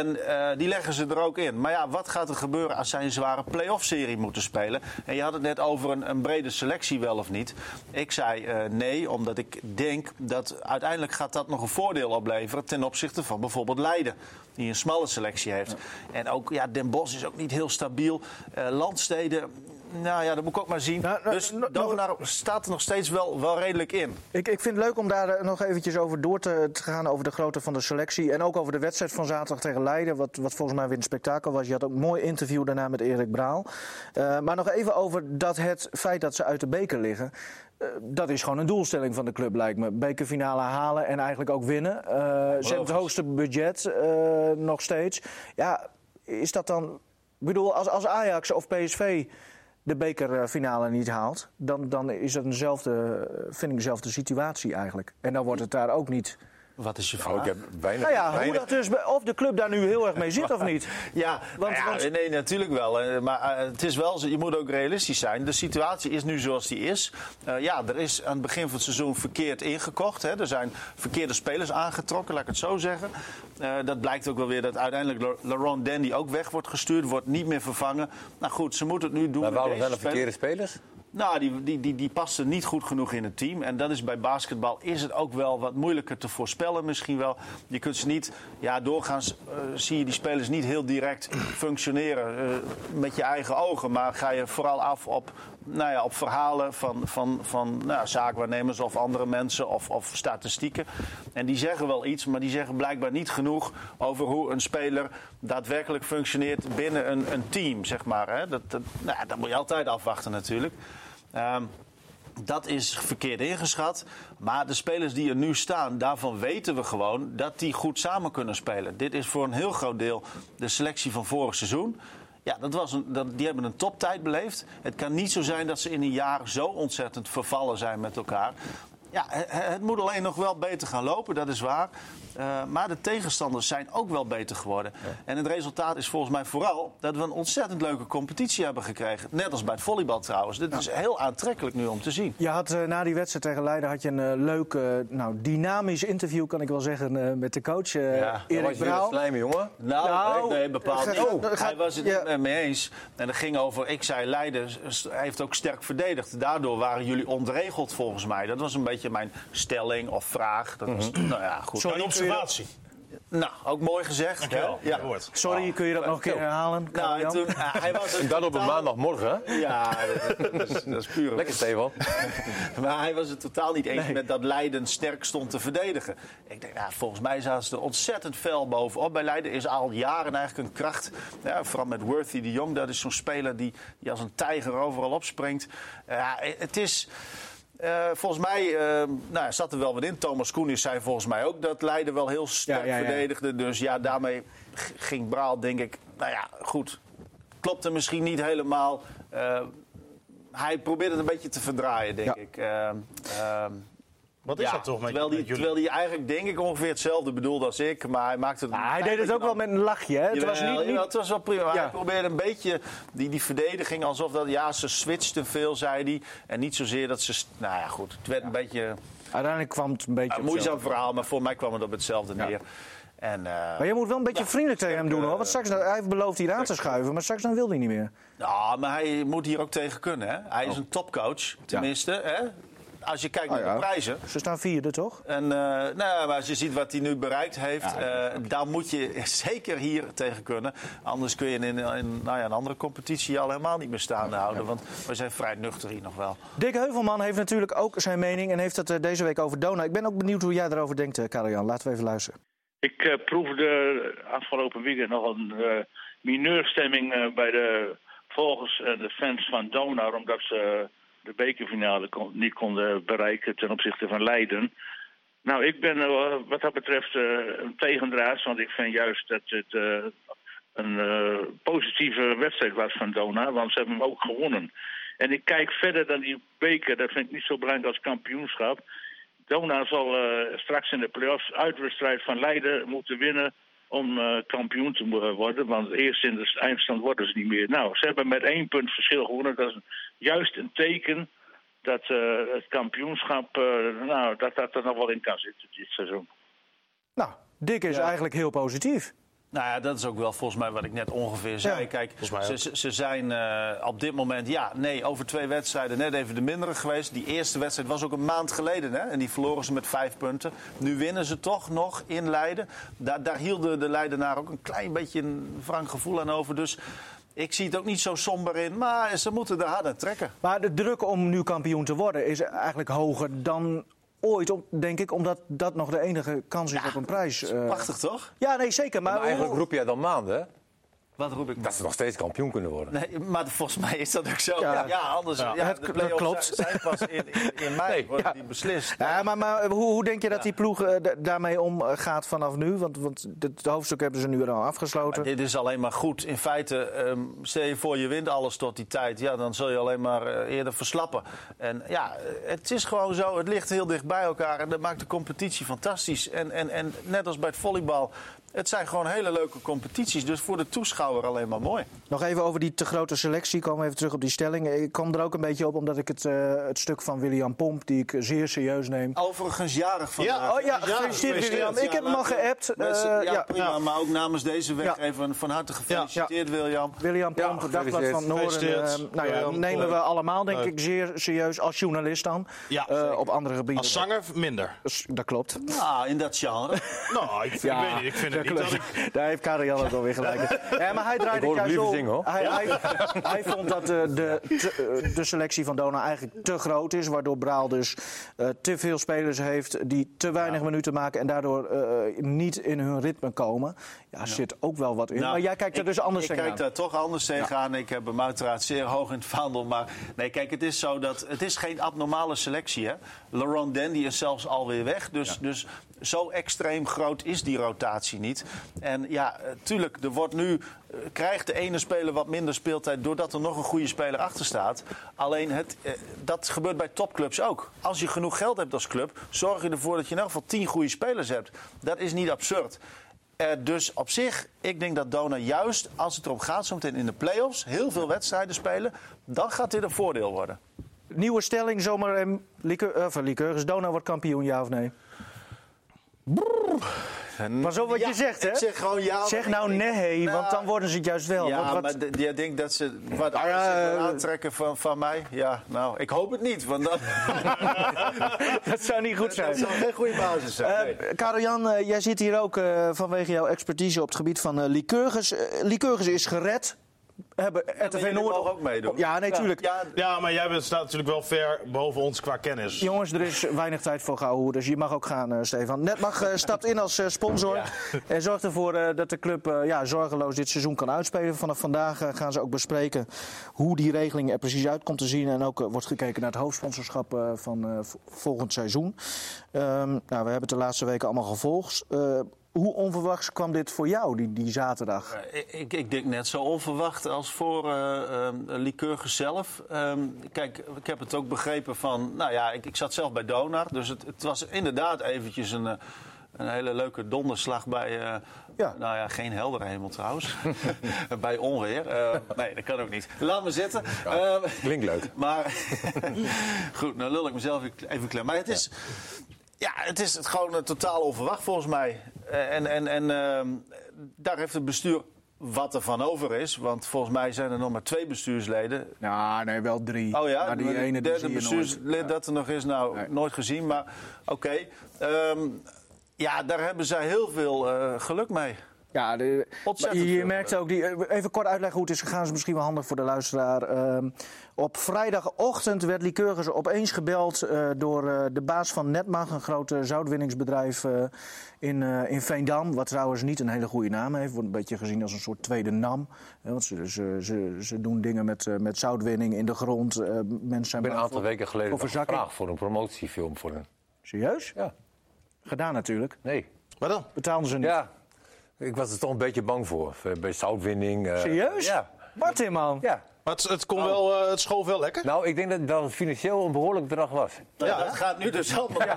D: En eh, die leggen ze er ook in. Maar ja, wat gaat er gebeuren als zij een zware play-off-serie moeten spelen? En je had het net over een, een brede selectie wel of niet. Ik zei eh, nee, omdat ik denk dat uiteindelijk gaat dat nog een voordeel opleveren... ten opzichte van bijvoorbeeld Leiden, die een smalle selectie heeft. En ook, ja, Den Bosch is ook niet heel stabiel. Eh, landsteden, nou ja, dat moet ik ook maar zien.
B: Nou, nou,
D: dus
B: nog-
D: Dovenaar staat er nog steeds wel, wel redelijk in.
B: Ik, ik vind het leuk om daar eh, nog eventjes over door te, te gaan. Over de grootte van de selectie. En ook over de wedstrijd van zaterdag tegen Leiden. Wat, wat volgens mij weer een spektakel was. Je had ook een mooi interview daarna met Erik Braal. Eh, maar nog even over dat het feit dat ze uit de beker liggen. eh, dat is gewoon een doelstelling van de club, lijkt me. Bekerfinale halen en eigenlijk ook winnen. Eh, ze hebben het hoogste budget eh, nog steeds. Ja, is dat dan. Ik bedoel, als, als Ajax of PSV de bekerfinale niet haalt, dan, dan is dat eenzelfde, vind ik dezelfde situatie eigenlijk. En dan wordt het daar ook niet.
D: Wat is je vraag?
C: Nou, ik heb weinig...
B: Nou ja, hoe
C: weinig-
B: dat dus, bij- of de club daar nu heel erg mee zit of
D: [laughs]
B: niet.
D: Ja,
B: Want-
D: nou ja,
B: want-
D: nee, natuurlijk wel. Eh, Maar eh, het is wel, zo- je moet ook realistisch zijn. De situatie is nu zoals die is. Eh, ja, er is aan het begin van het seizoen verkeerd ingekocht. Hè. Er zijn verkeerde spelers aangetrokken, laat ik het zo zeggen. Eh, dat blijkt ook wel weer dat uiteindelijk La- Laurent Dandy ook weg wordt gestuurd, wordt niet meer vervangen. Nou goed, ze moeten het nu doen.
C: Maar
D: met
C: waarom
D: deze
C: zijn er
D: spelers.
C: verkeerde spelers?
D: Nou, die, die, die, die pasten niet goed genoeg in het team. En dat is bij basketbal is het ook wel wat moeilijker te voorspellen misschien wel. Je kunt ze niet... Ja, doorgaans eh, zie je die spelers niet heel direct functioneren eh, met je eigen ogen. Maar ga je vooral af op, nou ja, op verhalen van, van, van nou, ja, zaakwaarnemers of andere mensen of, of statistieken. En die zeggen wel iets, maar die zeggen blijkbaar niet genoeg over hoe een speler daadwerkelijk functioneert binnen een, een team, zeg maar. Hè. Dat, dat, nou, ja, dat moet je altijd afwachten natuurlijk. Ehm, dat is verkeerd ingeschat. Maar de spelers die er nu staan, daarvan weten we gewoon dat die goed samen kunnen spelen. Dit is voor een heel groot deel de selectie van vorig seizoen. Ja, dat was een, dat, die hebben een toptijd beleefd. Het kan niet zo zijn dat ze in een jaar zo ontzettend vervallen zijn met elkaar. Ja, he- he- het moet alleen nog wel beter gaan lopen, dat is waar. Eh, maar de tegenstanders zijn ook wel beter geworden. En het resultaat is volgens mij vooral dat we een ontzettend leuke competitie hebben gekregen. Net als bij het volleybal trouwens. Dit is heel aantrekkelijk nu om te zien.
B: Je had eh, na die wedstrijd tegen Leiden had je een eh, leuk, eh, nou, dynamisch interview, kan ik wel zeggen, eh, met de coach eh,
D: Ja, dat
C: Dan was
B: Erik
C: je weer een
B: Brouw.
C: slijme jongen.
D: Nou,
B: Nou,
D: nee, bepaald
B: ga-
D: niet.
B: oh, ga-
D: Hij was het
B: ja.
D: met me eens. En dat ging over, ik zei Leiden s- heeft ook sterk verdedigd. Daardoor waren jullie ontregeld volgens mij. Dat was een beetje mijn stelling of vraag. Dat was, nou ja, goed.
E: Een observatie.
D: Nou, ook mooi gezegd. hè?
E: Ja, woord.
B: Sorry, kun je dat nog een keer herhalen?
D: Oh. Nou,
B: Karel-Jan?
D: en toen, ja, hij was
C: En
D: het
C: dan op een
D: totaal-
C: maandagmorgen. hè?
D: Ja, dat, dat is, dat is
C: [laughs]
D: puur.
C: Lekker, Stefan.
D: [laughs] Maar hij was het totaal niet eens met dat Leiden sterk stond te verdedigen. Ik denk, nou, volgens mij zaten ze er ontzettend fel bovenop. Bij Leiden is al jaren eigenlijk een kracht. Ja, vooral met Worthy de Jong. Dat is zo'n speler die, die als een tijger overal opspringt. Ja, het is... eh, volgens mij eh, nou, er zat er wel wat in. Thomas Koenis zei volgens mij ook dat Leiden wel heel sterk
B: ja, ja.
D: verdedigde. Dus ja, daarmee g- ging Braal, denk ik. Nou ja, goed. Klopte misschien niet helemaal. Eh, hij probeert het een beetje te verdraaien, denk
B: Ja.
D: ik. Ehm, ehm,
E: Wat is
D: ja,
E: dat toch met,
D: terwijl die,
E: met jullie?
D: Terwijl hij eigenlijk, denk ik, ongeveer hetzelfde bedoelde als ik. Maar hij maakte het...
B: Ah, hij deed het ook wel met een lachje. Hè? Het was
D: Jawel,
B: niet,
D: jawel,
B: niet
D: het was wel prima. maar
B: Ja.
D: Hij probeerde een beetje die, die verdediging alsof dat... Ja, ze switchten veel, zei hij. En niet zozeer dat ze... st- Nou ja, goed. Het werd een beetje
B: Uiteindelijk kwam het een beetje.
D: een
B: op zelf.
D: Ah, moeizaam verhaal. Maar voor mij kwam het op hetzelfde neer. En, eh,
B: Maar je Oh, moet wel een beetje vriendelijk tegen hem doen hoor. Want straks, hij heeft beloofd hier aan te schuiven, maar straks dan wil hij niet meer.
D: Nou, maar hij moet hier ook tegen kunnen. Hè? Hij is een topcoach, tenminste. Hè? Als je kijkt naar
B: Ah, Oh. ja.
D: de prijzen.
B: Ze staan vierde, toch?
D: En, eh, nou, ja, maar als je ziet wat hij nu bereikt heeft, eh, daar moet je [laughs] zeker hier tegen kunnen. Anders kun je in, in nou ja, een andere competitie al helemaal niet meer staande houden. Want we zijn vrij nuchter hier nog wel.
B: Dick Heuvelman heeft natuurlijk ook zijn mening en heeft het eh, deze week over Dona. Ik ben ook benieuwd hoe jij daarover denkt, eh, Karel-Jan. Laten we even luisteren.
F: Ik eh, proefde afgelopen weekend nog een eh, mineurstemming eh, bij de volgers en de fans van Donar. Omdat ze eh, de bekerfinale kon- niet konden bereiken ten opzichte van Leiden. Nou, ik ben eh, wat dat betreft eh, een tegendraad. Want ik vind juist dat het eh, een eh, positieve wedstrijd was van Donar. Want ze hebben hem ook gewonnen. En ik kijk verder dan die beker. Dat vind ik niet zo belangrijk als kampioenschap. Dona zal eh, straks in de play-offs uitwedstrijd van Leiden moeten winnen om eh, kampioen te mo- worden. Want eerst in de eindstand worden ze niet meer. Nou, ze hebben met één punt verschil gewonnen. Dat is juist een teken dat eh, het kampioenschap, eh, nou, dat dat er nog wel in kan zitten dit seizoen.
B: Nou, Dick is eigenlijk heel positief.
D: Nou ja, dat is ook wel volgens mij wat ik net ongeveer zei.
B: Ja,
D: Kijk,
E: mij
D: ze,
E: ook.
D: ze- ze zijn eh, op dit moment, ja, nee, over twee wedstrijden net even de mindere geweest. Die eerste wedstrijd was ook een maand geleden, hè? En die verloren ze met vijf punten. Nu winnen ze toch nog in Leiden. Daar, daar hielden de Leidenaar ook een klein beetje een wrang gevoel aan over. Dus ik zie het ook niet zo somber in. Maar ze moeten er hard aan trekken.
B: Maar de druk om nu kampioen te worden is eigenlijk hoger dan ooit, om- denk ik. Omdat dat nog de enige kans is op een prijs. eh.
D: Prachtig, toch?
B: Ja, nee, zeker. Maar,
C: Maar eigenlijk
B: hoe-
C: roep jij dan maanden, hè?
D: Wat roep ik nou?
C: Dat ze nog steeds kampioen kunnen worden.
D: Nee, maar volgens mij is dat ook zo.
B: Ja.
D: Ja, anders. Ja.
B: Het-
D: de
B: dat
D: play-offs
B: klopt.
D: Zijn zijn pas in, in, in mei worden die beslist.
B: Ja, maar, maar hoe, hoe denk je dat die ploeg eh, da- daarmee omgaat vanaf nu? Want, want het hoofdstuk hebben ze nu al afgesloten.
D: Dit is alleen maar goed. In feite, ehm, stel je voor je wint alles tot die tijd. Ja, dan zul je alleen maar eh, eerder verslappen. En ja, eh, het is gewoon zo. Het ligt heel dicht bij elkaar. En dat maakt de competitie fantastisch. En, en, en net als bij het volleybal. Het zijn gewoon hele leuke competities. Dus voor de toeschouwer alleen maar mooi.
B: Nog even over die te grote selectie. Komen we even terug op die stelling. Ik kwam er ook een beetje op omdat ik het, eh, het stuk van William Pomp, die ik zeer serieus
D: Oh,
B: neem.
D: Overigens jarig vandaag.
B: Ja, oh ja, gefeliciteerd, William. Ik heb hem al geappt.
D: Mensen,
B: Eh,
D: ja,
B: ja.
D: prima. Maar ook namens deze weg
B: Ja.
D: even van harte gefeliciteerd, William.
B: William
C: Ja,
B: Pomp, Dagblad van het Noorden.
E: Gefeliciteerd.
B: eh, nou ja,
E: William,
B: nemen we
E: eh,
B: allemaal, denk ik, zeer serieus. Als journalist dan.
E: Ja,
B: Eh,
E: zeker.
B: op andere gebieden.
E: Als zanger minder.
B: Dus Dat klopt.
D: Ah, in dat genre.
E: Nou, ik, ik weet niet. Ik vind het niet dat ik...
B: Daar heeft Karel ook alweer gelijk.
E: [laughs]
B: in. Ja, maar hij
C: Ik
B: draaide
C: hoor hem
B: juist
C: liever
B: om.
C: zingen, hoor.
B: Hij, hij, hij vond dat eh, de, te- eh, de selectie van Dona eigenlijk te groot is. Waardoor Braal dus eh, te veel spelers heeft die te weinig minuten maken. En daardoor eh, niet in hun ritme komen. Ja, zit ook wel wat in.
D: Nou,
B: maar jij kijkt er
D: ik-
B: dus anders
D: Ik kijk
B: tegenaan.
D: daar toch anders tegenaan. Ik heb hem uiteraard zeer hoog in het vaandel. Maar nee, kijk, het is zo dat... Het is geen abnormale selectie, hè. Laurent Dandy is zelfs alweer weg. Dus, dus zo extreem groot is die rotatie niet. En ja, eh, tuurlijk, er wordt nu... eh, Krijgt de ene speler wat minder speeltijd doordat er nog een goede speler achter staat. Alleen het, eh, dat gebeurt bij topclubs ook. Als je genoeg geld hebt als club, zorg je ervoor dat je in elk geval tien goede spelers hebt. Dat is niet absurd. Eh, dus op zich, ik denk dat Dona juist als het erop gaat, zometeen in de play-offs, heel veel wedstrijden spelen, dan gaat dit een voordeel worden.
B: Nieuwe stelling, zomaar en likeur, eh, van likeur. Is Dona wordt kampioen, ja of nee? Maar zo wat
D: Ja,
B: je zegt, hè?
D: ik zeg gewoon ja,
B: Zeg
D: maar
B: nou
D: ik- ik-
B: nee,
D: nou,
B: want dan worden ze het juist wel.
D: ja,
B: Want wat-
D: maar d- jij denkt dat ze wat
B: Nou ja,
D: anders zich gaan
B: eh,
D: aantrekken van, van mij? Ja, nou, ik hoop het niet, want dan,
B: [laughs] dat zou niet goed zijn.
D: dat zou geen goede basis zijn. Nee.
B: Eh Karel-Jan, eh, jij zit hier ook eh, vanwege jouw expertise op het gebied van eh Lycurgus. Eh, Lycurgus is gered. Hebben RTV
D: jullie
B: Noord
D: mogen ook meedoen.
B: Ja, nee, tuurlijk.
D: ja,
E: Ja, maar jij bent, staat natuurlijk wel ver boven ons qua kennis.
B: Jongens, er is weinig tijd voor gauw, dus je mag ook gaan, eh, Stefan. Netmag eh, stapt in als eh, sponsor [laughs] en zorgt ervoor eh, dat de club eh, ja, zorgeloos dit seizoen kan uitspelen. Vanaf vandaag eh, gaan ze ook bespreken hoe die regeling er precies uit komt te zien. En ook eh, wordt gekeken naar het hoofdsponsorschap eh, van eh, v- volgend seizoen. Ehm, nou, we hebben het de laatste weken allemaal gevolgd. Eh, hoe onverwachts kwam dit voor jou, die, die zaterdag?
D: Ik- Eh, Ik, ik denk net zo onverwacht als voor eh ehm, Lycurgus zelf. Ehm, kijk, ik heb het ook begrepen van... Nou ja, ik, ik zat zelf bij Donar. Dus het, het was inderdaad eventjes een, eh, een hele leuke donderslag bij... eh,
B: Ja.
D: Nou ja, geen heldere hemel trouwens. [laughs] bij onweer. Eh, nee, dat kan ook niet. Laat me zitten. Ehm,
C: Klinkt leuk.
D: maar [laughs] goed, nou lul ik mezelf even klein. Maar het is, ja. het is het gewoon eh, totaal onverwacht volgens mij. Eh, En, en, en ehm, daar heeft het bestuur wat er van over is. Want volgens mij zijn er nog maar twee bestuursleden.
G: Ja, nee, wel drie.
D: Oh ja,
G: maar die
D: maar het
G: ene die
D: derde
G: zie je
D: bestuurslid
G: nooit.
D: dat er nog is, nou,
G: Nee.
D: nooit gezien. Maar oké, Ehm, ja, daar hebben zij heel veel eh, geluk mee.
G: Ja, de,
B: Maar
D: Ontzettend
B: je, je
D: veel
B: merkt ook, die, eh, even kort uitleggen hoe het is gegaan, is misschien wel handig voor de luisteraar. Ehm, op vrijdagochtend werd Lycurgus opeens gebeld eh, door eh, de baas van Netmag, een groot eh, zoutwinningsbedrijf eh, in, eh, in Veendam. Wat trouwens niet een hele goede naam heeft, wordt een beetje gezien als een soort tweede NAM. hè, want ze, ze, ze, ze doen dingen met, eh, met zoutwinning in de grond. eh, mensen zijn
C: Ik ben een
B: bang
C: aantal
B: voor-
C: weken geleden
B: voor
C: nog
B: verzakking.
C: gevraagd voor een promotiefilm voor hun.
B: Serieus?
C: Ja,
B: Gedaan natuurlijk.
C: nee.
E: Maar dan?
B: Betaalden ze niet.
C: Ja, ik was er toch een beetje bang voor. Bij zoutwinning. eh,
B: Serieus?
C: Ja.
B: Martin, man.
C: ja.
E: Maar het, het, kon wel, eh, het schoof wel lekker.
C: Nou, ik denk dat, dat het financieel een behoorlijk bedrag was.
D: Nou, dat gaat nu dus
G: [laughs]
C: [laughs]
D: allemaal. [laughs]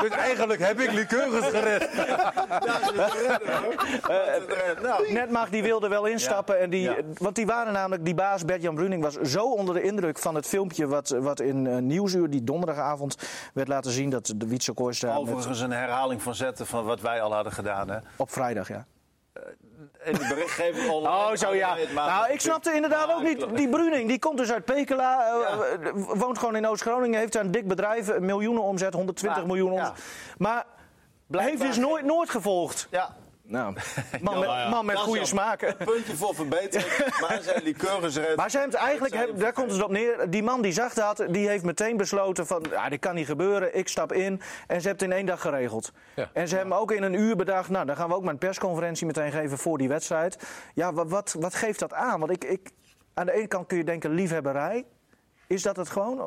C: Dus eigenlijk heb ik Lycurgus gered.
D: Ja, ze redden, hoor. Ze redden. Nou,
B: Netmag die wilde wel instappen. En die, Want die waren namelijk, die baas Bert-Jan Bruning was zo onder de indruk van het filmpje... wat, wat in eh, Nieuwsuur die donderdagavond werd laten zien... dat de Wietse Kooistra met-
D: Nou, Overigens een herhaling van zetten van wat wij al hadden gedaan. Hè?
B: op vrijdag, ja.
D: In de berichtgeving online.
B: Oh, zo ja.
D: online, maar-
B: Nou, ik snapte inderdaad ook niet. Die Bruning, die komt dus uit Pekela, eh,
D: Ja.
B: eh, woont gewoon in Oost-Groningen... heeft daar een dik bedrijf, een miljoenen omzet, 120
D: Maar,
B: miljoen omzet.
D: ja.
B: Maar heeft dus nooit, nooit gevolgd.
D: Ja,
B: Nou, man met, man met
D: Dat is
B: goede
D: jammer.
B: smaak.
D: Een puntje
B: [laughs]
D: voor verbetering. maar zijn liqueurs eruit.
B: Maar ze hebben het eigenlijk, hebben- daar komt het op neer. Die man die zag dat, die heeft meteen besloten van... Ja, dit kan niet gebeuren, ik stap in. En ze hebben het in één dag geregeld.
C: Ja.
B: En ze hebben ook in een uur bedacht... nou, dan gaan we ook maar een persconferentie meteen geven voor die wedstrijd. Ja, wa- wat, wat, geeft dat aan? Want ik, ik, aan de ene kant kun je denken liefhebberij... Is dat het gewoon? Eh,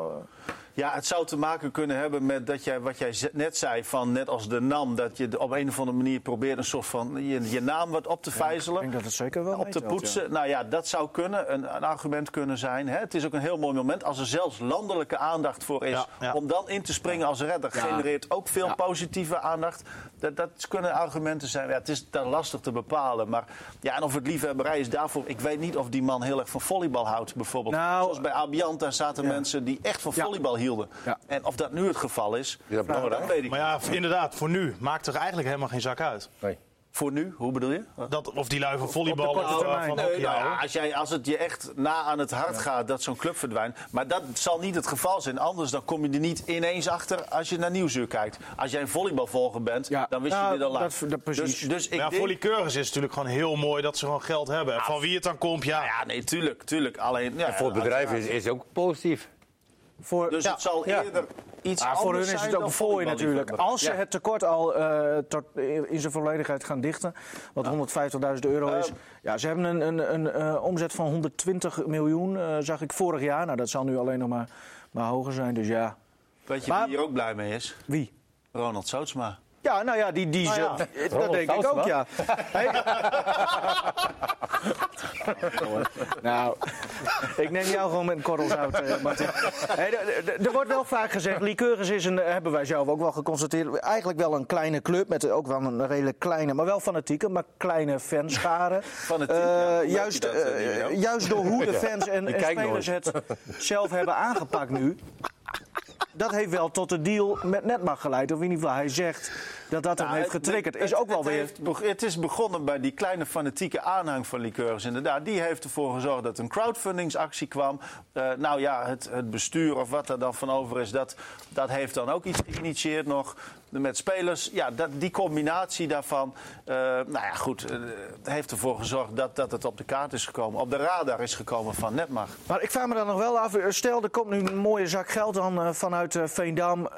D: Ja, het zou te maken kunnen hebben met dat jij, wat jij ze- net zei, van net als de NAM, dat je de- op een of andere manier probeert een soort van je, je naam wat op te
B: Ik
D: vijzelen.
B: denk dat het zeker wel
D: op te
B: meetelt, ja.
D: poetsen. Nou ja, dat zou kunnen, een, een argument kunnen zijn. Hè? Het is ook een heel mooi moment als er zelfs landelijke aandacht voor is.
E: Ja, ja.
D: Om dan in te springen als redder genereert ook veel positieve aandacht. Dat, dat kunnen argumenten zijn. Ja, het is dan lastig te bepalen. Maar ja, en of het liefhebberij is daarvoor. Ik weet niet of die man heel erg van volleybal houdt, bijvoorbeeld.
B: Nou,
D: Zoals bij Abiant, daar zaten mensen die echt van volleybal hielden.
G: Ja.
D: En of dat nu het geval is, nou,
C: dat belangrijk?
D: dat weet ik
E: Maar ja, v- inderdaad, voor nu maakt er eigenlijk helemaal geen zak uit.
C: Nee.
D: Voor nu, hoe bedoel je?
E: Dat, of die lui van volleybal
B: korte
E: of eh,
B: termijn.
E: van
D: Nee,
E: hockey
D: nou ja,
E: houden.
D: als, jij, als het je echt na aan het hart gaat dat zo'n club verdwijnt. Maar dat zal niet het geval zijn. Anders dan kom je er niet ineens achter als je naar Nieuwsuur kijkt. Als jij een volleybalvolger bent,
G: Ja.
D: dan wist
B: Nou,
D: je dit al lang.
B: dat- dat precies.
D: Dus, dus ik
E: Maar ja,
D: denk...
E: voor liqueurs is het natuurlijk gewoon heel mooi dat ze gewoon geld hebben. En van wie het dan komt, ja.
D: Nou Ja, nee, tuurlijk, tuurlijk. Alleen, ja,
C: Voor het bedrijf is, is ook positief.
B: Voor,
D: Dus
B: ja.
D: het zal
B: Ja.
D: eerder iets
B: Maar
D: anders
B: voor hun is
D: zijn
B: het ook
D: dan
B: een fooi natuurlijk.
D: volleyballiefhebber.
B: Als ze het tekort al eh, tot- in zijn volledigheid gaan dichten, wat 150.000 euro
D: Ehm.
B: is. ja, ze hebben een, een, een eh, omzet van 120 miljoen, eh, zag ik vorig jaar. Nou, dat zal nu alleen nog maar, maar hoger zijn. Dus ja,
D: Weet je
B: Maar-
D: wie hier ook blij mee is?
B: wie?
D: Ronald Sootsma.
B: Ja, nou ja, die, die,
D: ja.
B: die- dat denk ik
C: Tausma.
B: ook, ja.
D: [laughs]
B: nou, ik neem jou gewoon met een korrel zout, eh, Martin. Hey, d- d- d- er wordt wel vaak gezegd, Lycurgus is een, eh, hebben wij zelf ook wel geconstateerd, eigenlijk wel een kleine club met ook wel een redelijk kleine, maar wel fanatieke, maar kleine fanscharen.
D: Fanatiek,
B: Eh,
D: ja. Merk je
B: juist,
D: dat, eh,
B: eh,
D: Miguel?
B: juist door
D: [laughs]
B: hoe de fans en, en
C: kijkt
B: spelers het zelf hebben aangepakt nu, dat heeft wel tot de deal met Netmar geleid. Of in ieder geval, hij zegt dat dat hem
D: Nou,
B: heeft
D: het-
B: getriggerd.
D: het-
B: Is ook wel
D: het
B: weer...
D: heeft beg- het is begonnen bij die kleine fanatieke aanhang van liqueurs, inderdaad. Die heeft ervoor gezorgd dat een crowdfundingsactie kwam. Eh, nou ja, het, het bestuur of wat er dan van over is, dat, dat heeft dan ook iets geïnitieerd nog. Met spelers, ja, dat, die combinatie daarvan. eh, nou ja, goed, eh, het heeft ervoor gezorgd dat, dat het op de kaart is gekomen. Op de radar is gekomen van Netmar.
B: Maar ik vraag me dan nog wel af. eh, Stel, er komt nu een mooie zak geld dan eh, vanuit eh, Veendam. eh,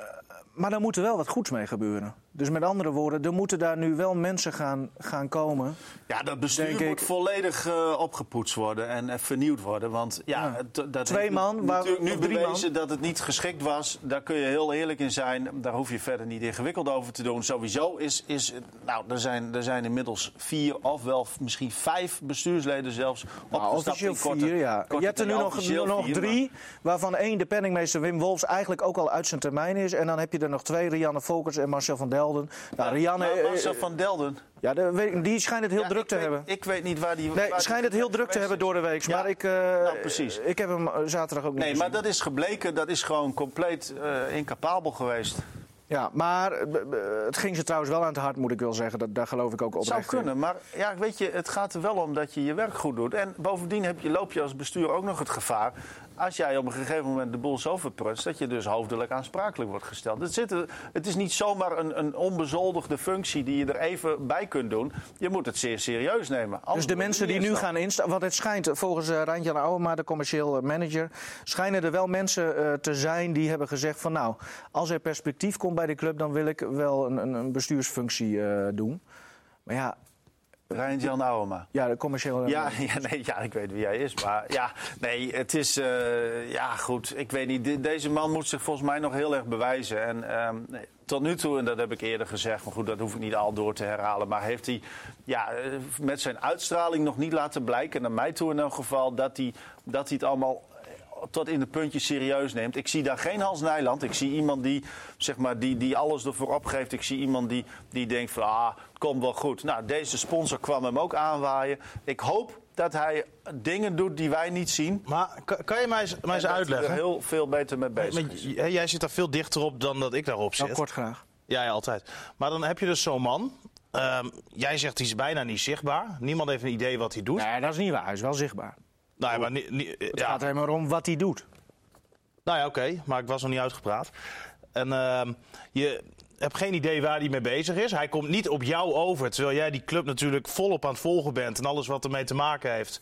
B: Maar daar moet er wel wat goeds mee gebeuren. Dus met andere woorden, er moeten daar nu wel mensen gaan, gaan komen.
D: Ja, dat bestuur
B: Denk
D: moet
B: ik.
D: volledig eh, opgepoetst worden en eh, vernieuwd worden. Want ja,
B: Ja.
D: het- dat
B: Twee
D: heeft
B: man, waar-
D: natuurlijk nu
B: of drie
D: bewezen dat het niet geschikt was. Daar kun je heel eerlijk in zijn. Daar hoef je verder niet ingewikkeld over te doen. Sowieso is, is nou, er zijn, er zijn inmiddels vier of wel f- misschien vijf bestuursleden zelfs
B: Nou,
D: opgestapt.
B: officieel
D: in korte-
B: vier, ja.
D: korte
B: Je hebt er nu
D: termijn.
B: nog,
D: Officieel
B: nog
D: vier,
B: drie, waarvan één de penningmeester Wim Wolfs eigenlijk ook al uit zijn termijn is. En dan heb je er nog twee, Rianne Volkers en Marcel van Delden. Nou,
D: maar-
B: Rianne,
D: maar
B: eh,
D: Marcel
B: eh,
D: van Delden.
B: ja, de- weet ik- die schijnt het heel
D: Ja,
B: druk
D: ik
B: te
D: weet-
B: hebben.
D: Ik weet niet waar die.
B: Nee,
D: waar die-
B: schijnt het heel druk te hebben door de week.
D: Ja.
B: Maar ik, eh,
D: Nou, precies.
B: ik heb hem eh, zaterdag ook niet
D: Nee,
B: gezien.
D: maar dat is gebleken. Dat is gewoon compleet eh, incapabel geweest.
B: Ja, maar eh, b- b- het ging ze trouwens wel aan het hart, moet ik wel zeggen. Dat, daar geloof ik ook
D: Het zou
B: oprecht in.
D: kunnen, maar ja, weet je, het gaat er wel om dat je je werk goed doet. En bovendien heb je, loop je als bestuur ook nog het gevaar... als jij op een gegeven moment de boel zo verprutst... dat je dus hoofdelijk aansprakelijk wordt gesteld. Het, zit er- het is niet zomaar een, een onbezoldigde functie die je er even bij kunt doen. Je moet het zeer serieus nemen.
B: Dus
D: Anders
B: de
D: word je
B: mensen die
D: niet
B: nu
D: instappen.
B: gaan instaan... Want het schijnt, eh, volgens eh Randjan Ouwema, de commercieel eh, manager... schijnen er wel mensen eh, te zijn die hebben gezegd van... nou, als er perspectief komt bij de club... dan wil ik wel een, een, een bestuursfunctie eh, doen. Maar ja,
D: Rijn-Jan Ouwema.
B: ja de commerciële...
D: [laughs] Ja, ja, nee, ja, ik weet wie hij is. Maar ja, nee, het is. eh, ja, goed. Ik weet niet. de- deze man moet zich volgens mij nog heel erg bewijzen. En ehm, nee, tot nu toe, en dat heb ik eerder gezegd, maar goed, dat hoef ik niet al door te herhalen. Maar heeft hij ja, eh, met zijn uitstraling nog niet laten blijken, naar mij toe in elk geval, dat hij, dat hij het allemaal tot in de puntjes serieus neemt. Ik zie daar geen Hans Nijland. Ik zie iemand die, zeg maar, die, die alles ervoor opgeeft. Ik zie iemand die, die denkt van, ah, het komt wel goed. Nou, deze sponsor kwam hem ook aanwaaien. Ik hoop dat hij dingen doet die wij niet zien.
E: Maar kan, kan je mij eens, mij eens
D: En dat hij
E: uitleggen?
D: er heel veel beter mee bezig
E: Maar
D: is.
E: j- jij zit daar veel dichter op dan dat ik daarop zit.
B: Nou, kort graag.
E: Ja, ja, altijd. Maar dan heb je dus zo'n man. Ehm, jij zegt die is bijna niet zichtbaar. Niemand heeft een idee wat hij doet.
B: Nee, dat is niet waar. Hij is wel zichtbaar.
E: Nou, ja, maar ni- ni-
B: Het
E: ja.
B: gaat helemaal om wat hij doet.
E: Nou ja, oké, maar ik was nog niet uitgepraat. En ehm, je, heb geen idee waar hij mee bezig is. Hij komt niet op jou over. Terwijl jij die club natuurlijk volop aan het volgen bent. En alles wat ermee te maken heeft.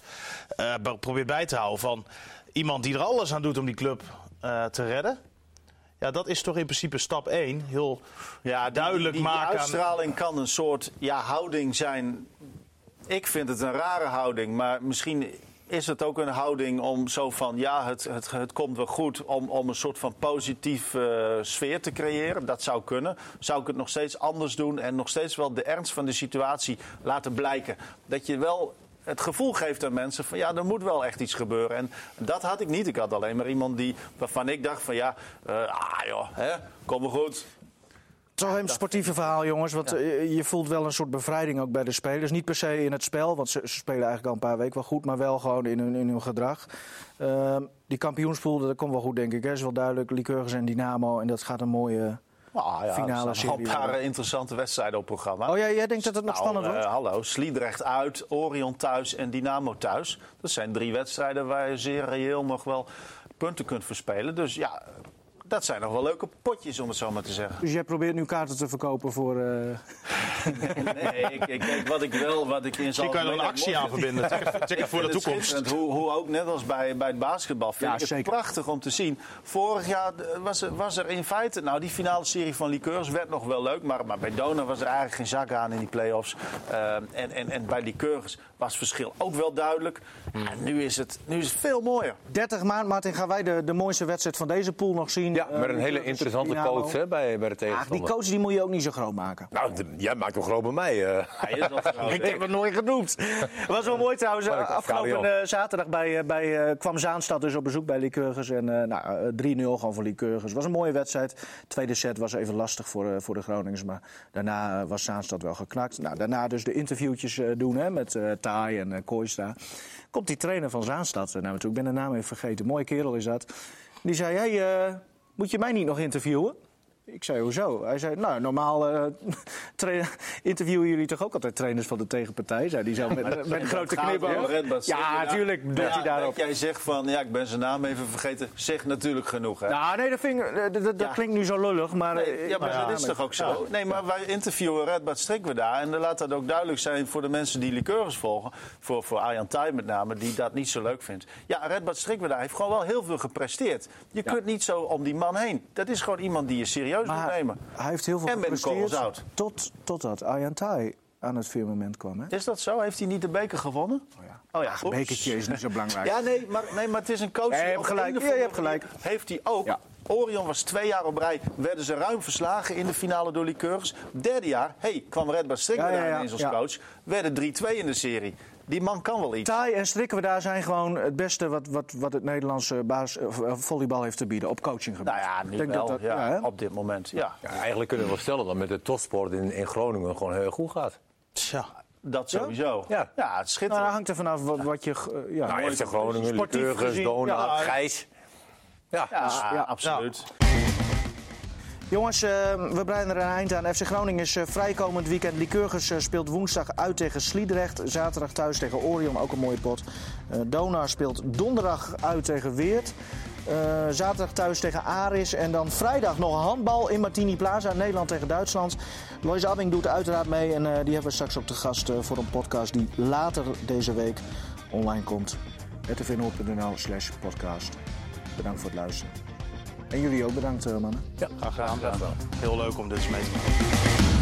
E: eh, be- probeert bij te houden van iemand die er alles aan doet om die club eh, te redden. Ja, dat is toch in principe stap 1. Heel
D: Ja,
E: duidelijk
D: die, die
E: maken aan-
D: uitstraling kan een soort ja, houding zijn. Ik vind het een rare houding, maar misschien is het ook een houding om zo van ja, het, het, het komt wel goed. Om, om een soort van positieve eh, sfeer te creëren. Dat zou kunnen. Zou ik het nog steeds anders doen en nog steeds wel de ernst van de situatie laten blijken? Dat je wel. Het gevoel geeft aan mensen van ja, er moet wel echt iets gebeuren. En dat had ik niet. Ik had alleen maar iemand die, waarvan ik dacht van ja, eh, ah joh, hè, kom maar goed.
B: Het is wel een sportieve verhaal, jongens. Want eh, je voelt wel een soort bevrijding ook bij de spelers. Niet per se in het spel, want ze, ze spelen eigenlijk al een paar weken wel goed. Maar wel gewoon in hun, in hun gedrag. Ehm, die kampioenspool, dat komt wel goed, denk ik. hè. is wel duidelijk. Lycurgus en Dynamo. En dat gaat een mooie...
D: Nou ja,
B: Finale
D: er staan al een
B: serie.
D: paar eh, interessante wedstrijden op het programma.
B: Oh, jij, jij denkt dat het nog
D: Nou,
B: spannend wordt?
D: eh, hallo, Sliedrecht uit, Orion thuis en Dynamo thuis. Dat zijn drie wedstrijden waar je zeer reëel nog wel punten kunt verspelen. Dus ja, dat zijn nog wel leuke potjes, om het zo maar te zeggen. [laughs]
B: Dus jij probeert nu kaarten te verkopen voor... eh,
D: Nee, ik, ik, kijk, wat ik wel, wat ik in
E: Die
D: zijn
E: kan je er een actie aan
D: [laughs]
E: verbinden. Zeker voor de toekomst.
D: Hoe, hoe ook, net als bij, bij het basketbal, vind
B: Ja,
D: ik het
B: zeker.
D: prachtig om te zien. Vorig jaar eh, was er, was er in feite... Nou, die finale serie van Liqueurs werd nog wel leuk... maar, maar bij Dona was er eigenlijk geen zak aan in die play-offs. Eh, en, en, en bij Liqueurs was het verschil ook wel duidelijk.
E: Hmm.
D: En nu is, het, nu is het veel mooier.
B: 30 maand, Martin, gaan wij de, de mooiste wedstrijd van deze pool nog zien.
C: Ja,
B: Eh,
C: met een hele
B: Lycurgus,
C: interessante
B: Dynamo.
C: coach hè, bij, bij de
B: Ach, die
C: tegenstander.
B: coach die moet je ook niet zo groot maken.
C: Nou, d- jij maakt hem groot bij mij. eh.
D: Hij is wel groot.
B: Ik heb het nooit genoemd. was wel mooi trouwens.
C: Maar ik-
B: Afgelopen
C: Gabriel.
B: eh, zaterdag bij, eh, bij, eh, kwam Zaanstad dus op bezoek bij Lycurgus. En eh, nou, eh, 3-0 gewoon voor Lycurgus. was een mooie wedstrijd. Tweede set was even lastig voor, eh, voor de Groningers. Maar daarna eh, was Zaanstad wel geknakt. Nou, daarna dus de interviewtjes eh, doen hè, met eh Taai en eh Kooistra. Komt die trainer van Zaanstad eh, naar me toe. Ik ben de naam even vergeten. Mooie kerel is dat. Die zei, hey, eh, moet je mij niet nog interviewen? Ik zei, hoezo? Hij zei, nou, normaal eh, [laughs] tra- interviewen jullie toch ook altijd trainers van de tegenpartij? Zei die
D: [laughs]
B: zo met, met een grote
D: Het gaat om Red
B: knipoog.
D: Bad
B: Ja,
D: City.
B: natuurlijk doet
D: Ja,
B: hij daarop.
D: dat Jij zegt van, ja, ik ben zijn naam even vergeten. Zeg natuurlijk genoeg, hè?
B: Nou, nee, dat, vind ik- eh, dat- dat- dat
D: Ja.
B: klinkt nu zo lullig, maar... eh,
D: Ja, maar
B: nou ja,
D: dat is
B: maar-
D: toch ook zo? nee, maar wij interviewen Redbad Strikweda. En dan laat dat ook duidelijk zijn voor de mensen die liqueurs volgen. Voor, voor Arjan Tij met name, die dat niet zo leuk vindt. Ja, Redbad Strikweda heeft gewoon wel heel veel gepresteerd. Je kunt niet zo om die man heen. Dat is gewoon iemand die je serieus moet
B: Maar
D: nemen.
B: hij heeft heel veel
D: En met de
B: gepresteerd
D: kogels out.
B: tot, totdat Arjan Thaai aan het firmament kwam. Hè?
D: Is dat zo? Heeft hij niet de beker gewonnen? Oh ja. Oh ja.
G: Ach,
D: oeps.
G: bekertje is niet zo belangrijk.
D: Ja, nee maar, nee, maar het is een coach.
B: Ja, je
D: die
B: hebt
D: op een
B: gelijk.
D: of
B: Ja, je
D: andere
B: hebt
D: manier Heeft hij ook.
G: Ja.
D: Orion was twee jaar op rij. Werden ze ruim verslagen in de finale door Liqueurs. Derde jaar, hey, kwam Red Bull Strickland
B: Ja, ja, ja.
D: ineens als
B: Ja.
D: coach. Werden 3-2 in de serie. Die man kan wel iets.
B: Taai en Strikken, daar zijn gewoon het beste wat, wat, wat het Nederlandse baas, eh, volleybal heeft te bieden op coachinggebied.
D: Nou ja, nu
B: Ik denk
D: wel.
B: dat dat-
D: ja,
B: ja, hè?
D: op dit moment, ja.
C: Ja, eigenlijk kunnen we wel stellen dat met de topsport in, in Groningen gewoon heel erg goed gaat.
D: Dat sowieso.
C: Ja.
D: het
B: Nou, dat
D: schitterend.
B: hangt er vanaf wat, wat je. eh, Ja,
C: Nou, FC Groningen,
B: sportief
C: Lycurgus,
B: gezien,
C: Dona,
B: ja.
C: Gijs. Ja,
D: Ja,
C: dus-
B: ja.
D: absoluut.
B: Jongens, eh, we breiden er een eind aan. FC Groningen is eh, vrijkomend weekend. Lycurgus eh, speelt woensdag uit tegen Sliedrecht. Zaterdag thuis tegen Orion, ook een mooie pot. Eh Donar speelt donderdag uit tegen Weert. Eh, zaterdag thuis tegen Aris. En dan vrijdag nog handbal in Martini Plaza. Nederland tegen Duitsland. Lois Abing doet uiteraard mee. En eh, die hebben we straks op de gast eh, voor een podcast die later deze week online komt. rtvnoord.nl slash podcast. Bedankt voor het luisteren. En jullie ook bedankt, eh, mannen.
E: Graag gedaan. Heel leuk om dit eens mee te maken.